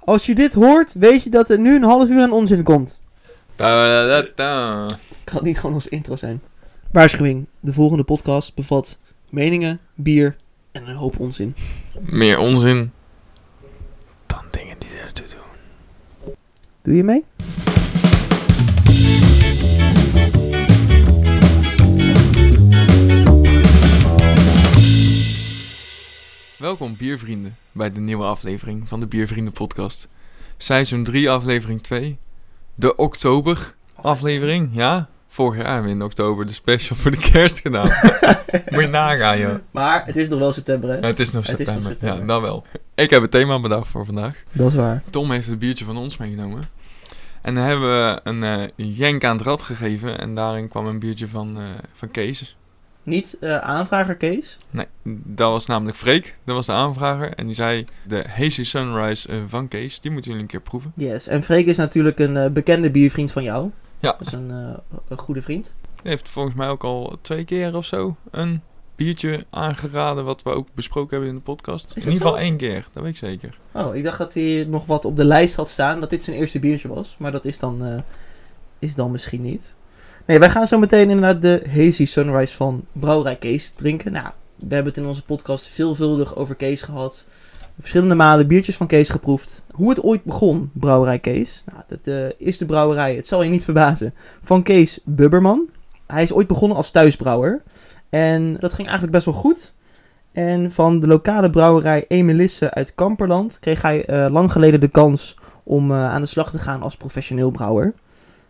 Als je dit hoort, weet je dat er nu een half uur aan onzin komt. Ba-da-da-da. Kan het niet gewoon als intro zijn. Waarschuwing. De volgende podcast bevat meningen, bier en een hoop onzin. Meer onzin dan dingen die ertoe doen. Doe je mee? Welkom biervrienden bij de nieuwe aflevering van de Biervrienden podcast. Seizoen 3 aflevering 2. De oktober aflevering, ja. Vorig jaar hebben we in oktober de special voor de kerst gedaan. Moet je nagaan, joh. Maar het is nog wel september, hè? Ja, het is nog Het is nog september. september. Ja, dan wel. Ik heb het thema bedacht voor vandaag. Dat is waar. Tom heeft het biertje van ons meegenomen. En dan hebben we een eh, jenk aan het rad gegeven. En daarin kwam een biertje van, eh, van Kees. Niet eh, aanvrager Kees. Nee, dat was namelijk Freek. Dat was de aanvrager. En die zei, de Hazy Sunrise eh, van Kees, die moeten jullie een keer proeven. Yes. En Freek is natuurlijk een eh, bekende biervriend van jou. Ja. Dat is een, eh, een goede vriend. Die heeft volgens mij ook al twee keer of zo een biertje aangeraden... wat we ook besproken hebben in de podcast. dat in ieder geval zo? één keer, dat weet ik zeker. Oh, ik dacht dat hij nog wat op de lijst had staan. Dat dit zijn eerste biertje was. Maar dat is dan, eh, is dan misschien niet. Nee, wij gaan zo meteen inderdaad de Hazy Sunrise van Brouwerij Kees drinken. Nou, we hebben het in onze podcast veelvuldig over Kees gehad. Verschillende malen biertjes van Kees geproefd. Hoe het ooit begon, Brouwerij Kees. Nou, dat eh, is de brouwerij, het zal je niet verbazen, van Kees Bubberman. Hij is ooit begonnen als thuisbrouwer. En dat ging eigenlijk best wel goed. En van de lokale brouwerij Emelisse uit Kamperland kreeg hij eh, lang geleden de kans om eh, aan de slag te gaan als professioneel brouwer.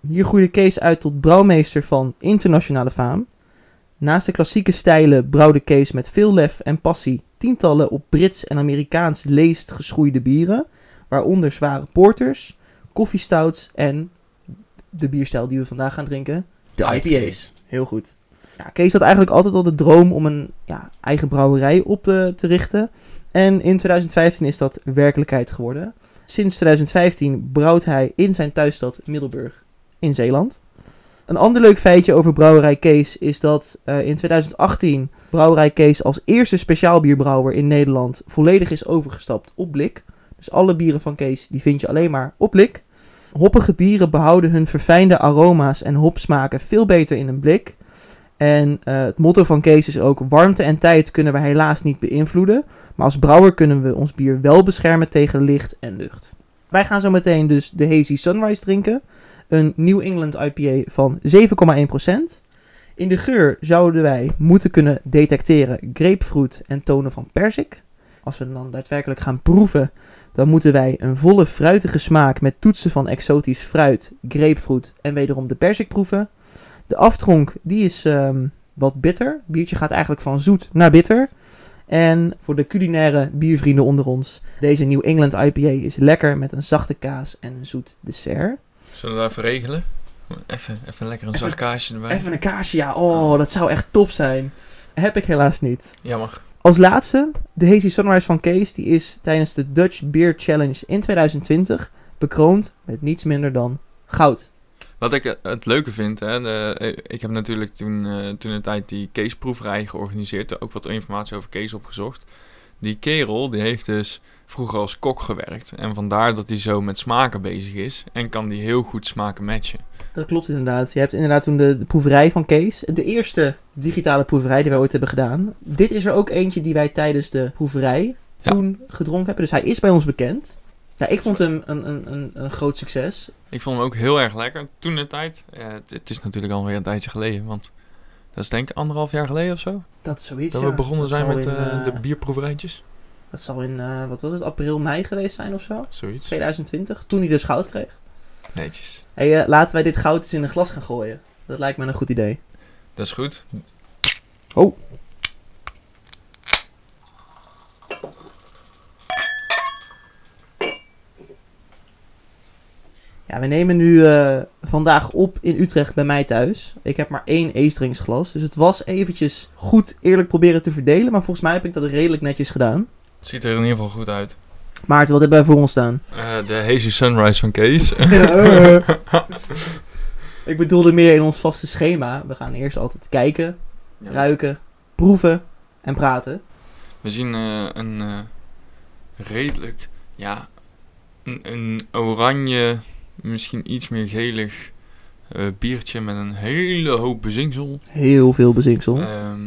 Hier groeide Kees uit tot brouwmeester van internationale faam. Naast de klassieke stijlen brouwde Kees met veel lef en passie tientallen op Brits en Amerikaans leest geschoeide bieren, waaronder zware porters, koffiestouts en de bierstijl die we vandaag gaan drinken, de IPA's. Heel goed. Ja, Kees had eigenlijk altijd al de droom om een ja, eigen brouwerij op eh, te richten. En in 2015 is dat werkelijkheid geworden. Sinds 2015 brouwt hij in zijn thuisstad Middelburg in Zeeland. Een ander leuk feitje over brouwerij Kees is dat eh, in 2018 brouwerij Kees als eerste speciaalbierbrouwer in Nederland volledig is overgestapt op blik. Dus alle bieren van Kees die vind je alleen maar op blik. Hoppige bieren behouden hun verfijnde aroma's en hopsmaken veel beter in een blik. En eh, het motto van Kees is ook: warmte en tijd kunnen we helaas niet beïnvloeden. Maar als brouwer kunnen we ons bier wel beschermen tegen licht en lucht. Wij gaan zo meteen dus de Hazy Sunrise drinken. Een New England IPA van 7,1%. In de geur zouden wij moeten kunnen detecteren grapefruit en tonen van perzik. Als we hem dan daadwerkelijk gaan proeven, dan moeten wij een volle fruitige smaak met toetsen van exotisch fruit, grapefruit en wederom de perzik proeven. De aftronk, die is ehm, wat bitter. Het biertje gaat eigenlijk van zoet naar bitter. En voor de culinaire biervrienden onder ons, deze New England IPA is lekker met een zachte kaas en een zoet dessert. Zullen we dat even regelen? Even, even lekker een Even- zacht kaasje erbij. Even een kaasje, ja. Oh, dat zou echt top zijn. Heb ik helaas niet. Jammer. Als laatste, de Hazy Sunrise van Kees, die is tijdens de Dutch Beer Challenge in 2020 bekroond met niets minder dan goud. Wat ik eh, het leuke vind, hè, de- ik heb natuurlijk toen, eh, toen een tijd die Keesproeverij georganiseerd, ook wat informatie over Kees opgezocht. Die kerel, die heeft dus vroeger als kok gewerkt. En vandaar dat hij zo met smaken bezig is en kan die heel goed smaken matchen. Dat klopt inderdaad. Je hebt inderdaad toen de, de proeverij van Kees, de eerste digitale proeverij die wij ooit hebben gedaan. Dit is er ook eentje die wij tijdens de proeverij Ja. toen gedronken hebben. Dus hij is bij ons bekend. Ja, ik vond hem een, een, een, een groot succes. Ik vond hem ook heel erg lekker toen de tijd. eh, het- het is natuurlijk alweer een tijdje geleden, want dat is denk ik anderhalf jaar geleden of zo. Dat is zoiets. Dat ja. we begonnen Dat zijn zal met in, eh, de eh, bierproeverijtjes. Dat zal in, eh, wat was het, april, mei geweest zijn of zo? Zoiets. 2020, toen hij dus goud kreeg. Netjes. Hey, eh, laten wij dit goud eens in een glas gaan gooien. Dat lijkt me een goed idee. Dat is goed. Oh. Ja, we nemen nu eh, vandaag op in Utrecht bij mij thuis. Ik heb maar één eestringsglas. Dus het was eventjes goed eerlijk proberen te verdelen. Maar volgens mij heb ik dat redelijk netjes gedaan. Het ziet er in ieder geval goed uit. Maarten, wat hebben wij voor ons staan? Eh, de Hazy Sunrise van Kees. ik bedoelde meer in ons vaste schema. We gaan eerst altijd kijken, ruiken, proeven en praten. We zien eh, een eh, redelijk, ja, een, een oranje, misschien iets meer gelig eh, biertje met een hele hoop bezinksel. Heel veel bezinksel. Ehm,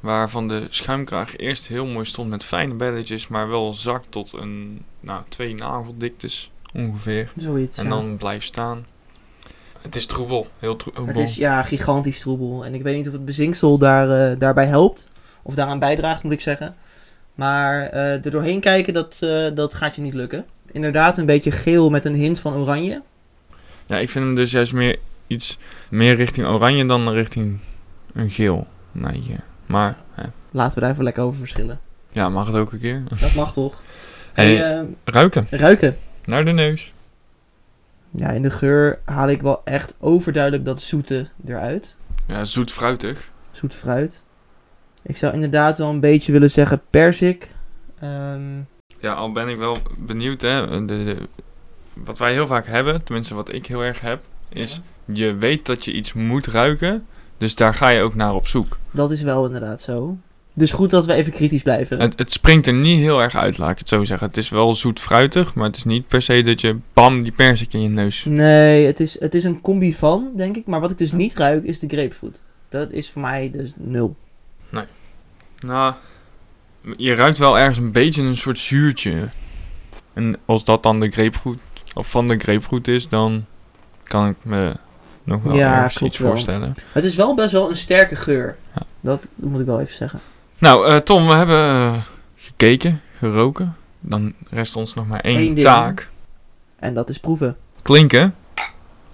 waarvan de schuimkraag eerst heel mooi stond met fijne belletjes, maar wel zak tot een, nou, twee nageldiktes ongeveer. Zoiets. En ja. dan blijft staan. Het is troebel, heel troebel. Het is ja, gigantisch troebel. En ik weet niet of het bezinksel daar, eh, daarbij helpt. Of daaraan bijdraagt, moet ik zeggen. Maar eh, er doorheen kijken, dat, eh, dat gaat je niet lukken. Inderdaad, een beetje geel met een hint van oranje. Ja, ik vind hem dus juist meer iets meer richting oranje dan richting een geel. Nee, ja. maar hè. Laten we daar even lekker over verschillen. ja, mag het ook een keer. Dat mag toch? Hey. Hey, eh, Ruiken, ruiken. naar de neus. Ja, in de geur haal ik wel echt overduidelijk dat zoete eruit. Ja, zoet fruitig. Zoet fruit. Ik zou inderdaad wel een beetje willen zeggen perzik. Ehm, Ja, al ben ik wel benieuwd, hè. De, de- wat wij heel vaak hebben, tenminste wat ik heel erg heb, is je weet dat je iets moet ruiken, dus daar ga je ook naar op zoek. dat is wel inderdaad zo. Dus goed dat we even kritisch blijven. Het, het springt er niet heel erg uit, laat ik het zo zeggen. Het is wel zoet fruitig, maar het is niet per se dat je bam die perzik in je neus. Nee, het is, het is een combi van, denk ik. Maar wat ik dus niet ruik, is de grapefruit. Dat is voor mij dus nul. Nou, je ruikt wel ergens een beetje een soort zuurtje. En als dat dan de grapefruit, of van de grapefruit is, dan kan ik me nog wel Ja, ergens klopt iets wel. voorstellen. Het is wel best wel een sterke geur. Ja. Dat moet ik wel even zeggen. Nou, eh, Tom, we hebben eh, gekeken, geroken. Dan rest ons nog maar één Eén ding. taak. En dat is proeven. Klinken.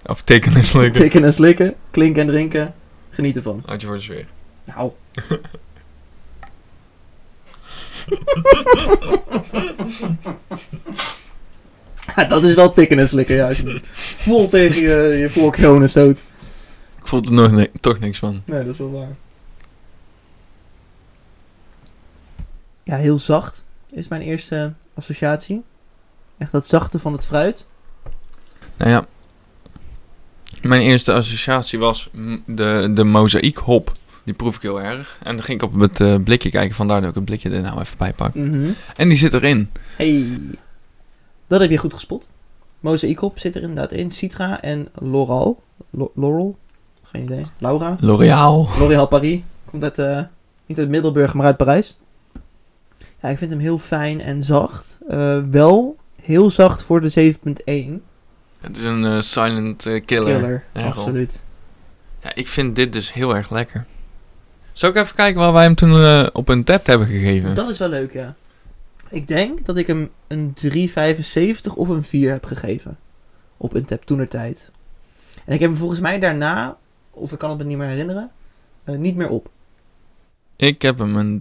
Of tekenen is leuker. Tikken en slikken, klinken en drinken. Geniet ervan. Had je voor de sfeer. Nou. Ja, dat is wel tikken en slikken, ja. als je vol tegen je, je voorkronen stoot. Ik vond er nog ni- toch niks van. Nee, dat is wel waar. Ja, heel zacht is mijn eerste associatie. Echt dat zachte van het fruit. Nou ja. Mijn eerste associatie was mm, de, de mozaïek hop. Die proef ik heel erg. En dan ging ik op het eh, blikje kijken. Vandaar dat ik het blikje er nou even bij pak. Mhm. En die zit erin. Hey. Dat heb je goed gespot. Mozaïekhop zit er inderdaad in. Citra en Laurel. Lo- Laurel? Geen idee. Laura. L'Oreal. L'Oréal Paris. Komt uit, eh, niet uit Middelburg, maar uit Parijs. Ja, ik vind hem heel fijn en zacht. Eh, wel heel zacht voor de 7.1. Het is een eh, silent eh, killer. Killer. Ja, absoluut. Ja, ik vind dit dus heel erg lekker. Zal ik even kijken waar wij hem toen eh, op een tap hebben gegeven? Dat is wel leuk, ja. Ik denk dat ik hem een 3,75 of een 4 heb gegeven. Op een tap toenertijd. En ik heb hem volgens mij daarna, of ik kan het me niet meer herinneren, eh, niet meer op. Ik heb hem een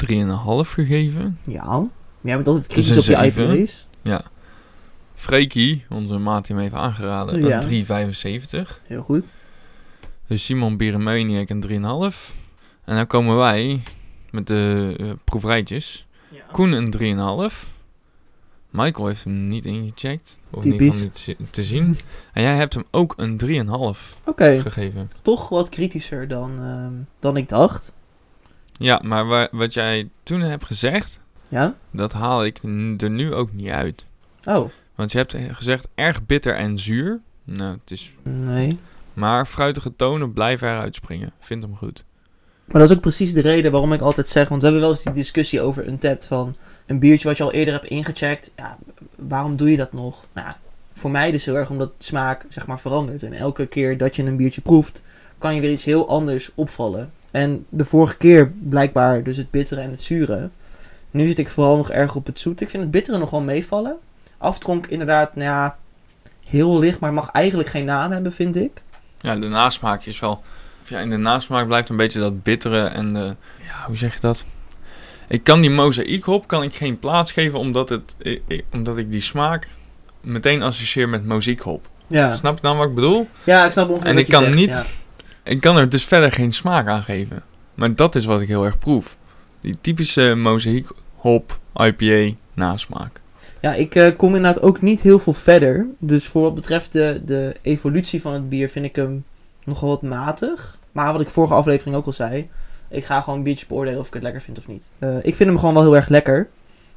3,5 gegeven. Ja. Maar jij bent altijd kritisch een op je zeven. IPA's. Freekie, onze maat, die hem heeft aangeraden, Ja. een 3,75. Heel goed. Dus Simon Bieremaniac een 3,5. En dan komen wij met de eh, proeverijtjes. Koen een 3,5. Michael heeft hem niet ingecheckt. Of niet Typisch. van niet zi- te zien. En jij hebt hem ook een 3,5 Oké, gegeven. toch wat kritischer dan, ehm, dan ik dacht. Ja, maar wa- wat jij toen hebt gezegd, Ja? dat haal ik n- er nu ook niet uit. Oh, Want je hebt gezegd erg bitter en zuur. Nou, het is... nee. Maar fruitige tonen blijven eruit springen. Vind hem goed. Maar dat is ook precies de reden waarom ik altijd zeg, want we hebben wel eens die discussie over een tap van een biertje wat je al eerder hebt ingecheckt. Ja, waarom doe je dat nog? Nou, voor mij dus heel erg omdat smaak zeg maar verandert en elke keer dat je een biertje proeft, kan je weer iets heel anders opvallen. En de vorige keer blijkbaar dus het bittere en het zure. Nu zit ik vooral nog erg op het zoet. Ik vind het bittere nog wel meevallen. Aftronk inderdaad, nou ja, heel licht, maar mag eigenlijk geen naam hebben, vind ik. Ja, de nasmaak is wel... of Ja, in de nasmaak blijft een beetje dat bittere en de... Ja, hoe zeg je dat? Ik kan die mozaïekhop kan ik geen plaats geven omdat, het, ik- ik- omdat ik die smaak meteen associeer met moziekhop. Ja, Snap je nou wat ik bedoel? ja ik snap ongeveer En wat ik je kan zegt, niet- ja. Ik kan er dus verder geen smaak aan geven. Maar dat is wat ik heel erg proef. Die typische mozaikhop IPA nasmaak. Ja, ik eh, kom inderdaad ook niet heel veel verder. Dus voor wat betreft de, de evolutie van het bier vind ik hem nogal wat matig. Maar wat ik vorige aflevering ook al zei, ik ga gewoon een biertje beoordelen of ik het lekker vind of niet. Eh, ik vind hem gewoon wel heel erg lekker.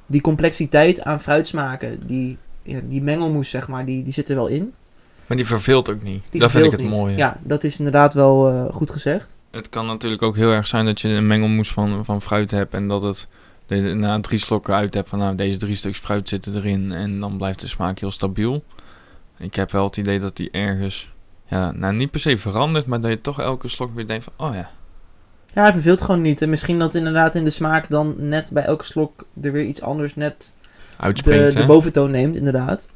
Die complexiteit aan fruitsmaken, die ja, die mengelmoes, zeg maar, die, die zit er wel in. Maar die verveelt ook niet. Die dat vind ik verveelt het niet. mooie. Ja, dat is inderdaad wel eh, goed gezegd. Het kan natuurlijk ook heel erg zijn dat je een mengelmoes van, van fruit hebt en dat het de- na drie slokken uit hebt van nou deze drie stuks fruit zitten erin en dan blijft de smaak heel stabiel. Ik heb wel het idee dat die ergens, ja, nou niet per se verandert, maar dat je toch elke slok weer denkt van oh ja, Ja, hij verveelt gewoon niet. En misschien dat inderdaad in de smaak dan net bij elke slok er weer iets anders net de, uitspringt de hè. boventoon neemt, inderdaad.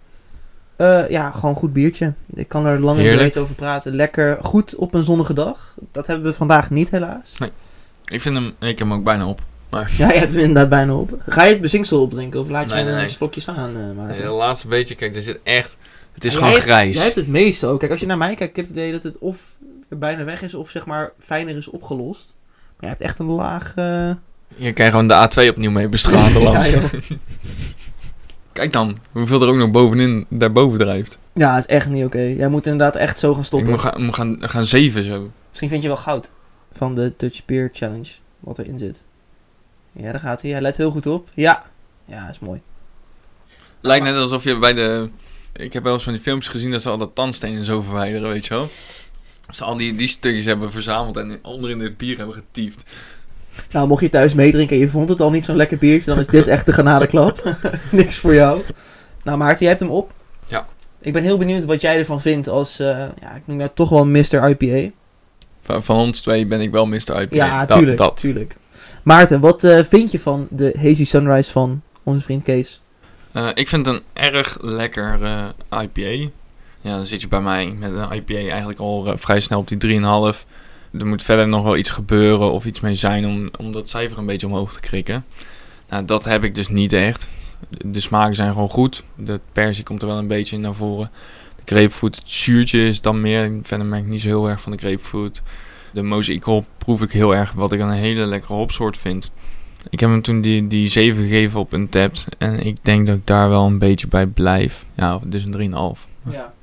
Eh, ja, gewoon goed biertje. Ik kan er lang en Heerlijk. breed over praten. Lekker, goed op een zonnige dag. Dat hebben we vandaag niet, helaas. Ik vind hem, ik heb hem ook bijna op. Maar Ja, je hebt hem inderdaad bijna op. Ga je het bezinksel opdrinken of laat je Nee, nee, een nee. slokje staan, eh Maarten? het laatste beetje, kijk, er zit echt, het is Jij gewoon hebt- grijs. Jij hebt het meeste ook. Kijk, als je naar mij kijkt, ik heb het idee dat het of bijna weg is of zeg maar fijner is opgelost. Maar je hebt echt een laag... eh, Je kan gewoon de A2 opnieuw mee bestralen. ja, Lars. joh. Kijk dan, hoeveel er ook nog bovenin, daarboven drijft. ja, het is echt niet oké. Jij moet inderdaad echt zo gaan Ik stoppen. moet gaan, moet gaan, gaan zeven zo. Misschien vind je wel goud van de Dutch Beer Challenge, wat erin zit. Ja, daar gaat hij. Hij let heel goed op. Ja. Ja, is mooi. Lijkt net alsof je bij de... Ik heb wel eens van die films gezien dat ze al dat tandstenen zo verwijderen, weet je wel. Dat ze al die, die stukjes hebben verzameld en in- onder in het bier hebben getiefd. Nou, mocht je thuis meedrinken en je vond het al niet zo'n lekker biertje, dan is dit echt de genadeklap. Niks voor jou. Nou, Maarten, jij hebt hem op. Ja. Ik ben heel benieuwd wat jij ervan vindt als, eh, ja, ik noem jou toch wel Mr. IPA. Van, van ons twee ben ik wel Mr. IPA. Ja, Dat- tuurlijk, dat. tuurlijk. Maarten, wat eh, vind je van de Hazy Sunrise van onze vriend Kees? Eh, ik vind het een erg lekker eh, IPA. Ja, dan zit je bij mij met een IPA eigenlijk al eh, vrij snel op die 3,5. Er moet verder nog wel iets gebeuren of iets mee zijn om, om dat cijfer een beetje omhoog te krikken. Nou, dat heb ik dus niet echt. De, de smaken zijn gewoon goed. De persie komt er wel een beetje naar voren. De grapefruit, het zuurtje is dan meer. Verder merk ik niet zo heel erg van de grapefruit. De mozaikhop proef ik heel erg, wat ik een hele lekkere hopsoort vind. Ik heb hem toen die, die 7 gegeven op een tap. En ik denk dat ik daar wel een beetje bij blijf. Ja, dus een 3,5. Ja.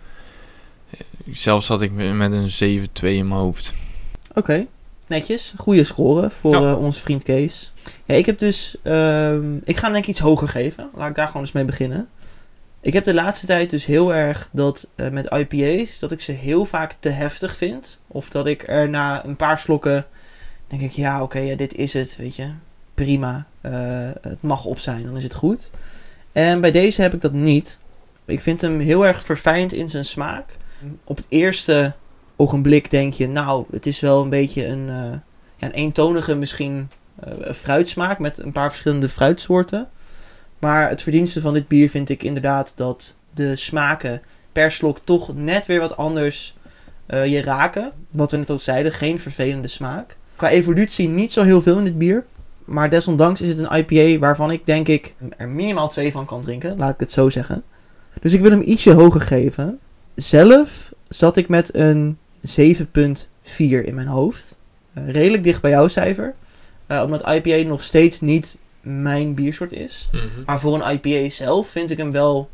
Zelfs zat ik me- met een 7,2 in mijn hoofd. Oké, netjes. Goede score voor Ja. eh, onze vriend Kees. Ja, ik heb dus, ehm, ik ga hem denk ik iets hoger geven. Laat ik daar gewoon eens mee beginnen. Ik heb de laatste tijd dus heel erg dat eh, met IPA's, dat ik ze heel vaak te heftig vind. Of dat ik er na een paar slokken, denk ik, ja oké, ja, dit is het, weet je. Prima, Eh, het mag op zijn, dan is het goed. En bij deze heb ik dat niet. Ik vind hem heel erg verfijnd in zijn smaak. Op het eerste ogenblik denk je, nou, het is wel een beetje een, eh, ja, een eentonige misschien eh, fruitsmaak met een paar verschillende fruitsoorten. Maar het verdienste van dit bier vind ik inderdaad dat de smaken per slok toch net weer wat anders eh, je raken. Wat we net al zeiden, geen vervelende smaak. Qua evolutie niet zo heel veel in dit bier. Maar desondanks is het een IPA waarvan ik denk ik er minimaal twee van kan drinken. Laat ik het zo zeggen. Dus ik wil hem ietsje hoger geven. Zelf zat ik met een 7,4 in mijn hoofd. Eh, redelijk dicht bij jouw cijfer. Eh, omdat IPA nog steeds niet mijn biersoort is. Maar voor een IPA zelf vind ik hem wel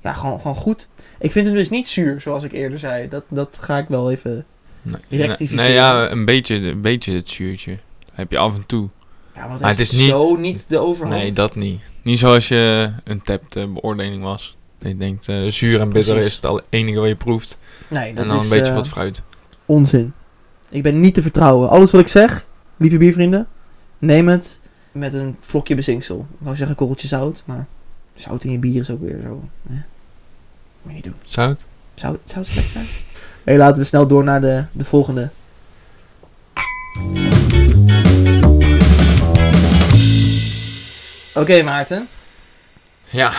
ja, gewoon, gewoon goed. Ik vind hem dus niet zuur, zoals ik eerder zei. Dat, dat ga ik wel even. Nee, Rectificeren. Nee, ja, een beetje, een beetje het zuurtje. Heb je af en toe. Ja, want Maar het het is is niet- zo niet de overhand. Nee, dat niet. Niet zoals je een tapt eh, beoordeling was. Dat je denkt, eh, zuur en bitter Precies. is het al enige wat je proeft. nee, dat en dan is een beetje eh, wat fruit. onzin. Ik ben niet te vertrouwen. Alles wat ik zeg, lieve biervrienden, neem het met een vlokje bezinksel. Ik wou zeggen korreltje zout, maar zout in je bier is ook weer zo. Hè? Moet je niet doen. Zout? Zou, zou het slecht zijn? hey, laten we snel door naar de, de volgende. Oké, Maarten. Ja,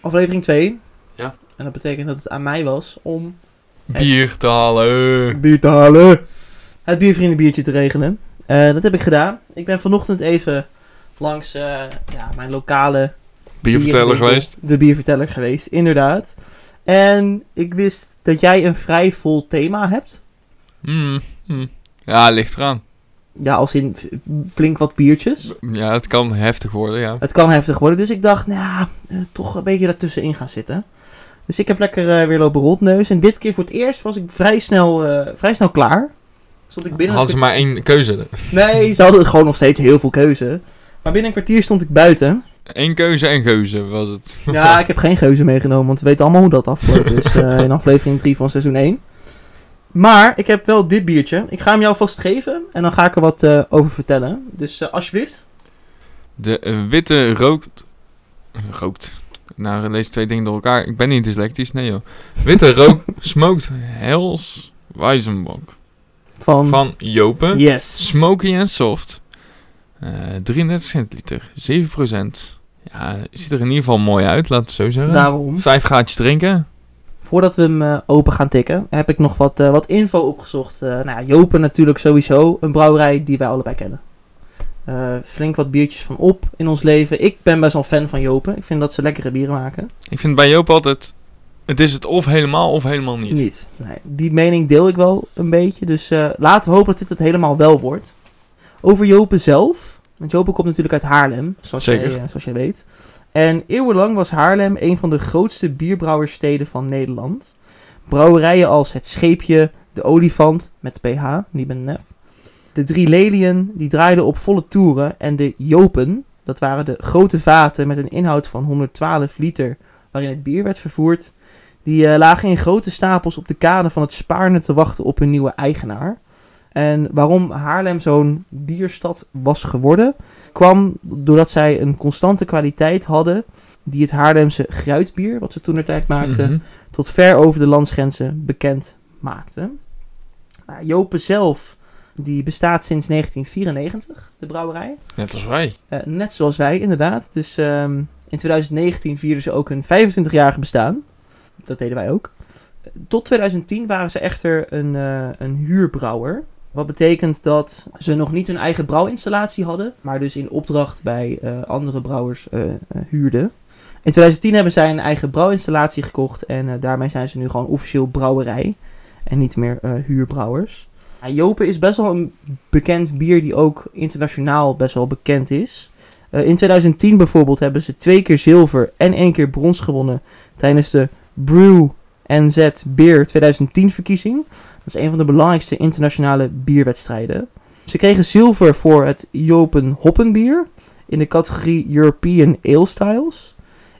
Aflevering 2. Ja. En dat betekent dat het aan mij was om bier te halen. bier te halen. Het biervriendenbiertje te regelen. Eh, dat heb ik gedaan. Ik ben vanochtend even langs eh, ja, mijn lokale Bierverteller bierwinkel, geweest. De bierverteller geweest, inderdaad. En ik wist dat jij een vrij vol thema hebt. Mm, mm. Ja, ligt eraan. Ja, als in f- flink wat biertjes. Ja, het kan heftig worden, ja. Het kan heftig worden, dus ik dacht, nou, ja, eh, toch een beetje daartussenin gaan zitten. Dus ik heb lekker eh, weer lopen rondneus. En dit keer voor het eerst was ik vrij snel, eh, vrij snel klaar. Stond ik binnen. Hadden ze maar één keuze. Nee, ze hadden gewoon nog steeds heel veel keuze. Maar binnen een kwartier stond ik buiten. Eén keuze en geuze was het. Ja, ik heb geen geuze meegenomen, want we weten allemaal hoe dat afgelopen is eh, in aflevering 3 van seizoen 1. Maar ik heb wel dit biertje. Ik ga hem jou vast geven en dan ga ik er wat eh, over vertellen. Dus eh, alsjeblieft. De eh, witte rookt... Rookt. Nou, lees twee dingen door elkaar. Ik ben niet dyslectisch, nee joh. Witte rook smoked Hells Weizenbock. Van, Van Jopen. Yes. Smoky en soft. Eh 33 centiliter. 7%. Ja, ziet er in ieder geval mooi uit, laten we het zo zeggen. Daarom. Vijf gaatjes drinken. Voordat we hem eh, open gaan tikken, heb ik nog wat, eh, wat info opgezocht. Eh, nou ja, Jopen natuurlijk sowieso, een brouwerij die wij allebei kennen. Eh, flink wat biertjes van op in ons leven. Ik ben best wel fan van Jopen. Ik vind dat ze lekkere bieren maken. Ik vind bij Joop altijd... Het is het of helemaal of helemaal niet. Nee, die mening deel ik wel een beetje. Dus eh, laten we hopen dat dit het helemaal wel wordt. Over Jopen zelf. Want Jopen komt natuurlijk uit Haarlem, zoals, Zeker. Jij, eh, zoals jij weet. En eeuwenlang was Haarlem een van de grootste bierbrouwerssteden van Nederland. Brouwerijen als Het Scheepje, De Olifant, met PH, niet met een F. De Drie Leliën, die draaiden op volle toeren. En de Jopen, dat waren de grote vaten met een inhoud van 112 liter, waarin het bier werd vervoerd. Die eh, lagen in grote stapels op de kade van het Spaarne te wachten op hun nieuwe eigenaar. En waarom Haarlem zo'n bierstad was geworden, kwam doordat zij een constante kwaliteit hadden die het Haarlemse gruitbier, wat ze toen er tijd maakten, Mhm. tot ver over de landsgrenzen bekend maakte. Nou, Jopen zelf, die bestaat sinds 1994, de brouwerij. Net als wij. Eh, net zoals wij, inderdaad. Dus ehm, in 2019 vierden ze ook hun 25-jarige bestaan. Dat deden wij ook. Tot 2010 waren ze echter een, eh, een huurbrouwer. Wat betekent dat ze nog niet hun eigen brouwinstallatie hadden, maar dus in opdracht bij eh, andere brouwers eh, eh, huurden. In 2010 hebben zij een eigen brouwinstallatie gekocht en eh, daarmee zijn ze nu gewoon officieel brouwerij en niet meer eh, huurbrouwers. Ja, Jopen is best wel een bekend bier die ook internationaal best wel bekend is. Eh, in 2010 bijvoorbeeld hebben ze twee keer zilver en één keer brons gewonnen tijdens de Brew NZ Beer 2010 verkiezing. Dat is een van de belangrijkste internationale bierwedstrijden. Ze kregen zilver voor het Jopen Hoppenbier in de categorie European Ale Styles.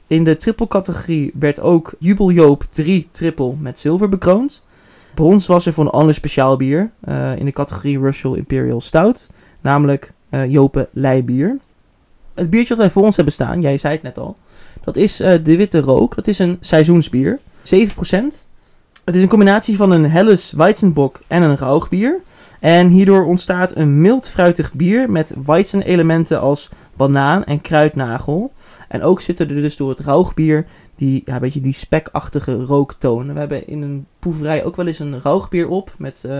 In de triple categorie werd ook Jubel Joop 3 triple met zilver bekroond. Brons was er voor een ander speciaal bier eh, in de categorie Russell Imperial Stout, namelijk eh, Jopen Leibier. Het biertje dat wij voor ons hebben staan, jij zei het net al, dat is eh, de Witte Rook. Dat is een seizoensbier, 7%. Het is een combinatie van een Helles Weizenbock en een rauwbier. En hierdoor ontstaat een mild fruitig bier met Weizen-elementen als banaan en kruidnagel. En ook zitten er dus door het rauwbier die, ja, een beetje die spekachtige rooktonen. We hebben in een proeverij ook wel eens een rauwbier op met eh,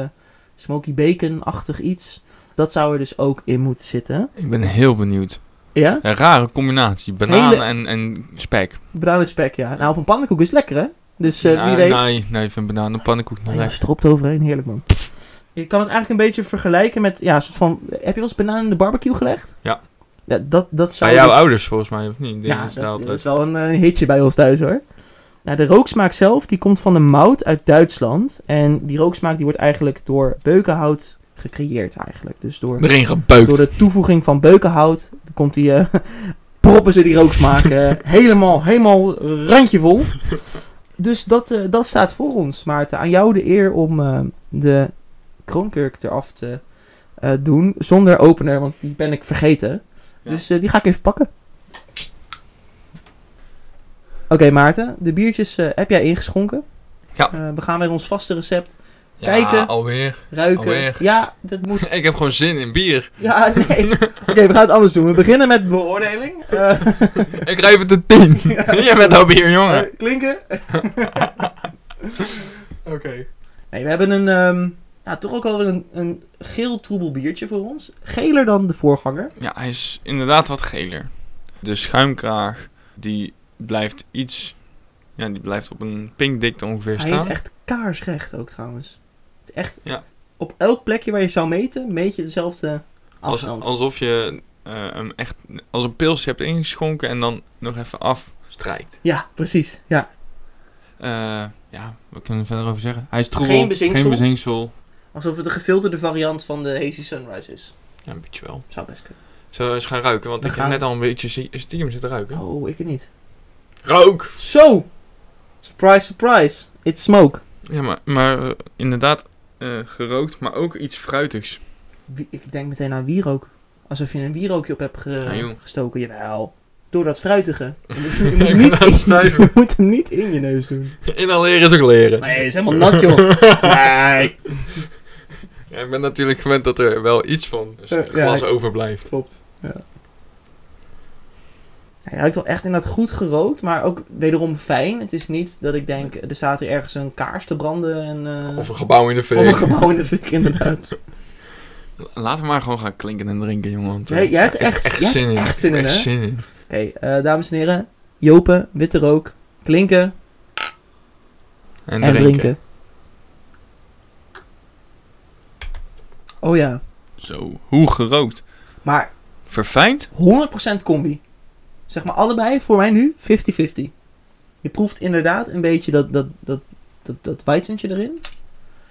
smoky bacon-achtig iets. Dat zou er dus ook in moeten zitten. Ik ben heel benieuwd. Ja? Een rare combinatie. Banaan Hele- en, en spek. Bananenspek, ja. Nou, van pannenkoek is lekker, hè? Dus eh, Ja, wie weet... Nee, nee, ik vind banaan en pannenkoek niet Nou ja, lekker. stropt overheen, heerlijk man. Je kan het eigenlijk een beetje vergelijken met, ja, een soort van... Heb je wel eens bananen in de barbecue gelegd? Ja. Ja, dat, dat zou Bij jouw dus- ouders volgens mij, of niet? Die Ja, is daar dat, altijd. dat is wel een, eh, hitje bij ons thuis, hoor. Nou, de rooksmaak zelf, die komt van de mout uit Duitsland. En die rooksmaak, die wordt eigenlijk door beukenhout gecreëerd, eigenlijk. Dus door... Erin gebeukt. Door de toevoeging van beukenhout komt die, eh, proppen ze die rooksmaak eh, helemaal, helemaal randje vol. Dus dat, eh, dat staat voor ons, Maarten. Aan jou de eer om eh, de kroonkurk eraf te eh, doen zonder opener, want die ben ik vergeten. Ja. Dus eh, die ga ik even pakken. Oké Maarten, de biertjes eh, heb jij ingeschonken. Ja. Eh, we gaan weer ons vaste recept Ja, kijken. alweer. ruiken. Alweer. Ja, dat moet. Ik heb gewoon zin in bier. Ja, nee. Oké, we gaan het anders doen. We beginnen met beoordeling. Eh, Ik geef het een 10. Jij bent al bier, jongen. eh, klinken. Oké. Nee, we hebben een, ehm, nou, toch ook wel weer een, een geel troebel biertje voor ons. Geler dan de voorganger. Ja, hij is inderdaad wat geler. De schuimkraag, die blijft iets... Ja, die blijft op een pinkdikte ongeveer Hij is staan. echt kaarsrecht ook trouwens. Het is echt, Ja. op elk plekje waar je zou meten, meet je dezelfde Als, afstand. alsof je eh, hem echt als een pilsje hebt ingeschonken en dan nog even afstrijkt. Ja, precies. Ja. Eh, ja, wat kunnen we verder over zeggen? Hij is troebel. Geen bezinksel. Geen bezinksel. Alsof het een gefilterde variant van de Hazy Sunrise is. Ja, een beetje wel. Zou best kunnen. Zullen we eens gaan ruiken? Want We ik gaan. heb net al een beetje zie- stiekem zitten ruiken. Oh, ik het niet. Rook! Zo! Surprise, surprise. It's smoke. Ja, maar, maar eh, inderdaad eh, gerookt, maar ook iets fruitigs. Wie- ik denk meteen aan wierook. Alsof je een wierookje op hebt ge- Ah, joh. gestoken. Jawel. Door dat fruitige. Je moet, je moet hem niet wou in, snuiven. je moet hem niet in je neus doen. Inhaleren is ook leren. Nee, dat is helemaal nat, joh. Nee. Ja, ik ben natuurlijk gewend dat er wel iets van dus Eh, ja, glas ik- overblijft. Klopt. Ja. Hij ruikt wel echt inderdaad goed gerookt, maar ook wederom fijn. Het is niet dat ik denk, er staat hier ergens een kaars te branden en... eh, Of een gebouw in de of een fik. gebouw in de fik, inderdaad. Laten we maar gewoon gaan klinken en drinken, jongen. Want, eh, Nee, jij hebt ik heb echt, jij hebt echt zin Ik in, heb hè? echt zin in. Oké, eh, dames en heren. Jopen, witte rook, klinken en, En, drinken. drinken. Oh ja, Zo, hoe gerookt. maar Verfijnd? 100% combi. Zeg maar allebei voor mij nu 50-50. Je proeft inderdaad een beetje dat, dat, dat, dat, dat weizentje erin.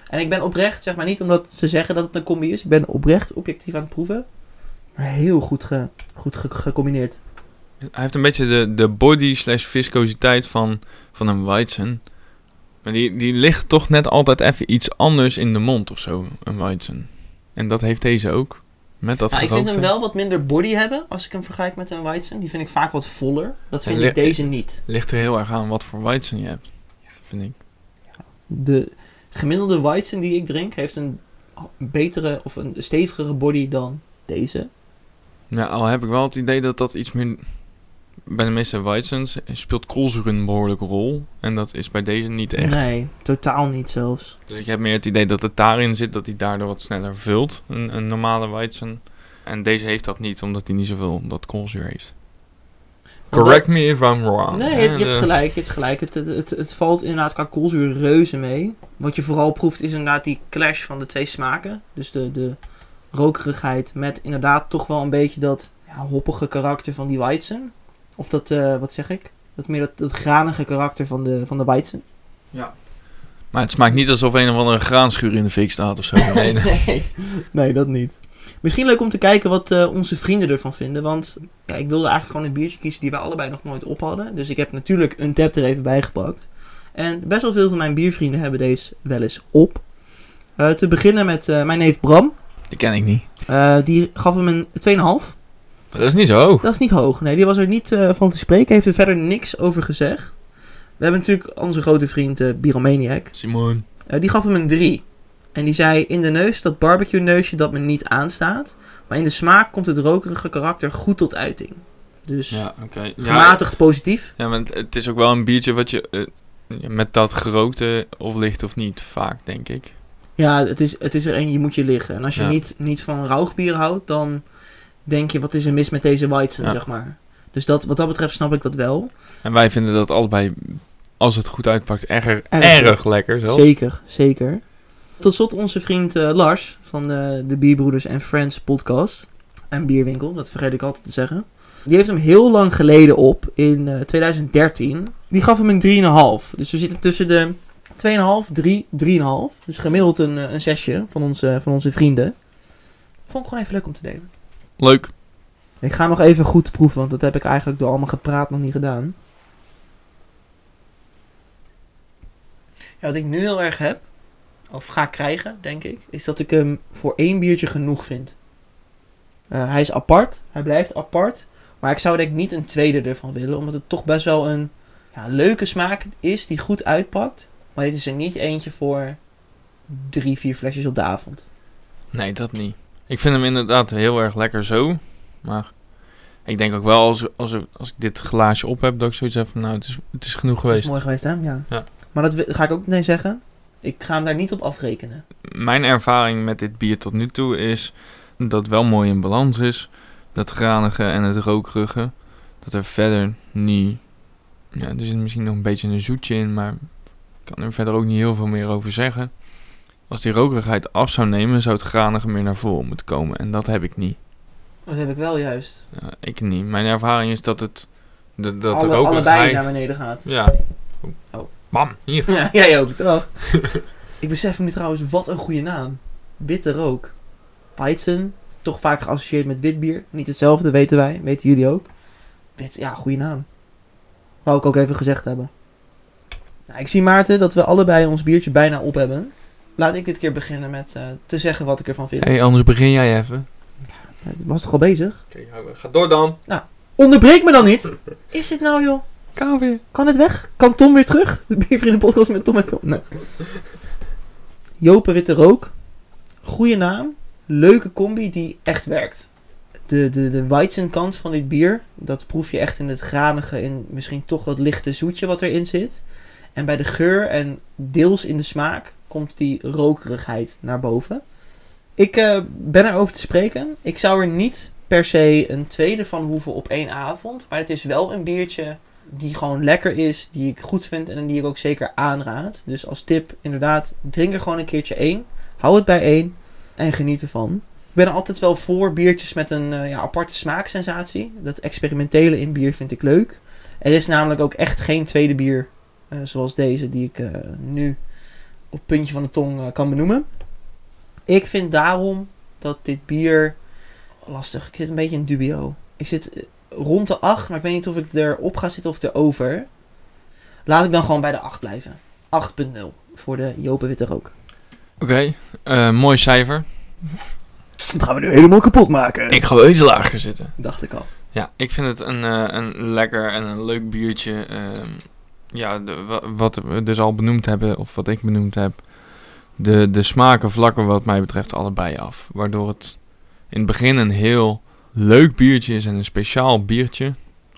En ik ben oprecht, zeg maar niet omdat ze zeggen dat het een combi is. Ik ben oprecht objectief aan het proeven. Maar heel goed, ge, goed ge- gecombineerd. Hij heeft een beetje de, de body slash viscositeit van, van een Weizen. Maar die, die ligt toch net altijd even iets anders in de mond of zo, een Weizen. En dat heeft deze ook. Met dat Nou, ik vind hem gerookte. wel wat minder body hebben als ik hem vergelijk met een Weizen. Die vind ik vaak wat voller. Dat vind Ja, ik le- deze niet. Ligt er heel erg aan wat voor Weizen je hebt, vind ik. De gemiddelde Weizen die ik drink heeft een betere of een stevigere body dan deze. Ja, Nou, al heb ik wel het idee dat dat iets meer... Bij de meeste Weizens speelt koolzuur een behoorlijke rol. En dat is bij deze niet echt. Nee, totaal niet zelfs. Dus ik heb meer het idee dat het daarin zit, dat hij daardoor wat sneller vult. Een, een normale Weizen. En deze heeft dat niet, omdat hij niet zoveel dat koolzuur heeft. Want Correct me if I'm wrong. Nee, je, Eh, hebt- je hebt de- gelijk. Je hebt gelijk. Het, het, het, het valt inderdaad qua koolzuur reuze mee. Wat je vooral proeft is inderdaad die clash van de twee smaken. Dus de, de rokerigheid met inderdaad toch wel een beetje dat ja, hoppige karakter van die Weizen. Of dat, eh, wat zeg ik? Dat meer dat, dat granige karakter van de, van de Weizen. Maar het smaakt niet alsof een of andere graanschuur in de fik staat of zo. Nee, nee. Nee. nee, dat niet. Misschien leuk om te kijken wat eh, onze vrienden ervan vinden. Want ja, ik wilde eigenlijk gewoon een biertje kiezen die wij allebei nog nooit op hadden. Dus ik heb natuurlijk een tap er even bij gepakt. En best wel veel van mijn biervrienden hebben deze wel eens op. Eh, te beginnen met eh, mijn neef Bram. Die ken ik niet. Eh, die gaf hem een 2,5. Maar dat is niet zo hoog. Dat is niet hoog. Nee, die was er niet eh, van te spreken. Heeft er verder niks over gezegd. We hebben natuurlijk onze grote vriend eh Biromaniac. Simon. Eh, die gaf hem een 3. En die zei, in de neus dat barbecue neusje dat me niet aanstaat. Maar in de smaak komt het rokerige karakter goed tot uiting. Dus Ja, oké. Ja, gematigd positief. Ja, want het is ook wel een biertje wat je eh, met dat gerookte of licht of niet vaak, denk ik. Ja, het is, het is er een, je moet je liggen. En als je Ja. niet, niet van rauwbier houdt, dan denk je, wat is er mis met deze Weizen, Ja. zeg maar. Dus dat, wat dat betreft snap ik dat wel. En wij vinden dat allebei, als het goed uitpakt, erg, erg, Erg lekker zelfs. Zeker, zeker. Tot slot onze vriend eh, Lars van de, de Bierbroeders en Friends podcast. En Bierwinkel, dat vergeet ik altijd te zeggen. Die heeft hem heel lang geleden op, in eh, 2013. Die gaf hem een 3,5. Dus we zitten tussen de 2,5, 3, 3,5. Dus gemiddeld een, eh, een zesje van onze, van onze vrienden. Vond ik gewoon even leuk om te delen. Leuk. Ik ga nog even goed proeven, want dat heb ik eigenlijk door allemaal gepraat nog niet gedaan. Ja, wat ik nu heel erg heb, of ga krijgen, denk ik, is dat ik hem voor één biertje genoeg vind. Eh, hij is apart, hij blijft apart, maar ik zou denk ik niet een tweede ervan willen, omdat het toch best wel een ja, leuke smaak is die goed uitpakt. Maar dit is er niet eentje voor drie, vier flesjes op de avond. Nee, dat niet. Ik vind hem inderdaad heel erg lekker zo. Maar ik denk ook wel, als, als, als ik dit glaasje op heb, dat ik zoiets heb van, nou, het is, het is genoeg Dat is geweest. mooi geweest, hè? Ja. Ja. Maar dat wi- ga ik ook meteen zeggen. Ik ga hem daar niet op afrekenen. Mijn ervaring met dit bier tot nu toe is dat het wel mooi in balans is. Dat granige en het rokerige. Dat er verder niet... Ja, er zit misschien nog een beetje een zoetje in, maar ik kan er verder ook niet heel veel meer over zeggen. Als die rokerigheid af zou nemen, zou het granige meer naar voren moeten komen. En dat heb ik niet. Dat heb ik wel juist. Ja, ik niet. Mijn ervaring is dat het... Dat, dat Alle, de rokerigheid... allebei naar beneden gaat. Ja. Oh. Bam, hier. Ja, jij ook, dag. ik besef me nu trouwens, wat een goede naam. Witte rook. Weizen, toch vaak geassocieerd met wit bier. Niet hetzelfde, weten wij. Weten jullie ook. Wit, ja, goede naam. Wou ik ook even gezegd hebben. Nou, ik zie Maarten dat we allebei ons biertje bijna op hebben. Laat ik dit keer beginnen met eh, te zeggen wat ik ervan vind. hey, anders begin jij even. Het was toch al bezig? Oké, ga door dan. Onderbreek me dan niet! Is dit nou, joh? Kou weer. Kan het weg? Kan Tom weer terug? De Biervrienden podcast met Tom en Tom. Nee. Jopen Witte Rook. Goeie naam. Leuke combi die echt werkt. De, de, de weizenkant van dit bier, dat proef je echt in het granige en misschien toch dat lichte zoetje wat erin zit. En bij de geur en deels in de smaak komt die rokerigheid naar boven. Ik eh, ben erover te spreken. Ik zou er niet per se een tweede van hoeven op één avond. Maar het is wel een biertje die gewoon lekker is, die ik goed vind en die ik ook zeker aanraad. Dus als tip, inderdaad, drink er gewoon een keertje één. Hou het bij één en geniet ervan. Ik ben er altijd wel voor biertjes met een eh, ja, aparte smaaksensatie. Dat experimentele in bier vind ik leuk. Er is namelijk ook echt geen tweede bier eh, zoals deze die ik eh, nu op het puntje van de tong eh, kan benoemen. Ik vind daarom dat dit bier... oh, Lastig, ik zit een beetje in dubio. Ik zit rond de 8, maar ik weet niet of ik erop ga zitten of erover. Laat ik dan gewoon bij de 8 blijven. 8.0 voor de Jopen Witte Rook. Oké, eh, mooi cijfer. Dat gaan we nu helemaal kapot maken. Ik ga wel iets lager zitten. Dacht ik al. Ja, ik vind het een, eh, een lekker en een leuk biertje. ehm, ja, de- wa- wat we dus al benoemd hebben, of wat ik benoemd heb. De, de smaken vlakken wat mij betreft allebei af. Waardoor het in het begin een heel leuk biertje is en een speciaal biertje.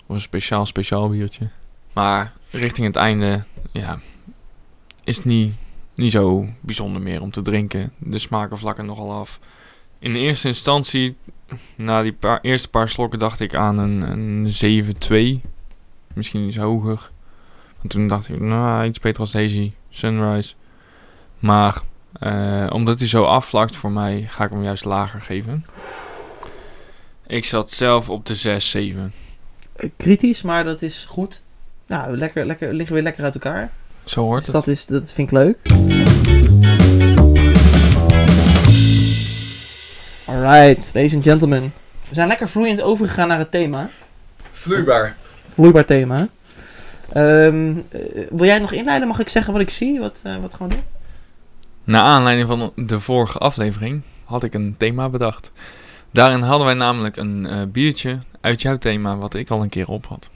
Of een speciaal speciaal biertje. Maar richting het einde, ja, is het niet, niet zo bijzonder meer om te drinken. De smaken vlakken nogal af. In de eerste instantie na die paar, eerste paar slokken dacht ik aan een, een 7-2. Misschien iets hoger. Want toen dacht ik, nou, iets beter als Daisy Sunrise. Maar eh, omdat hij zo afvlakt voor mij, ga ik hem juist lager geven. Ik zat zelf op de 6-7. Eh, Kritisch, maar dat is goed. Nou, lekker, lekker, liggen weer lekker uit elkaar. Zo hoort Dus het. dat, is, dat vind ik leuk. Alright, ladies and gentlemen. We zijn lekker vloeiend overgegaan naar het thema. Vloeibaar. Vloeibaar thema. Ehm, eh, wil jij het nog inleiden? Mag ik zeggen wat ik zie? Wat, eh, wat gaan we doen? Naar aanleiding van de vorige aflevering had ik een thema bedacht. Daarin hadden wij namelijk een eh, biertje uit jouw thema, wat ik al een keer op had.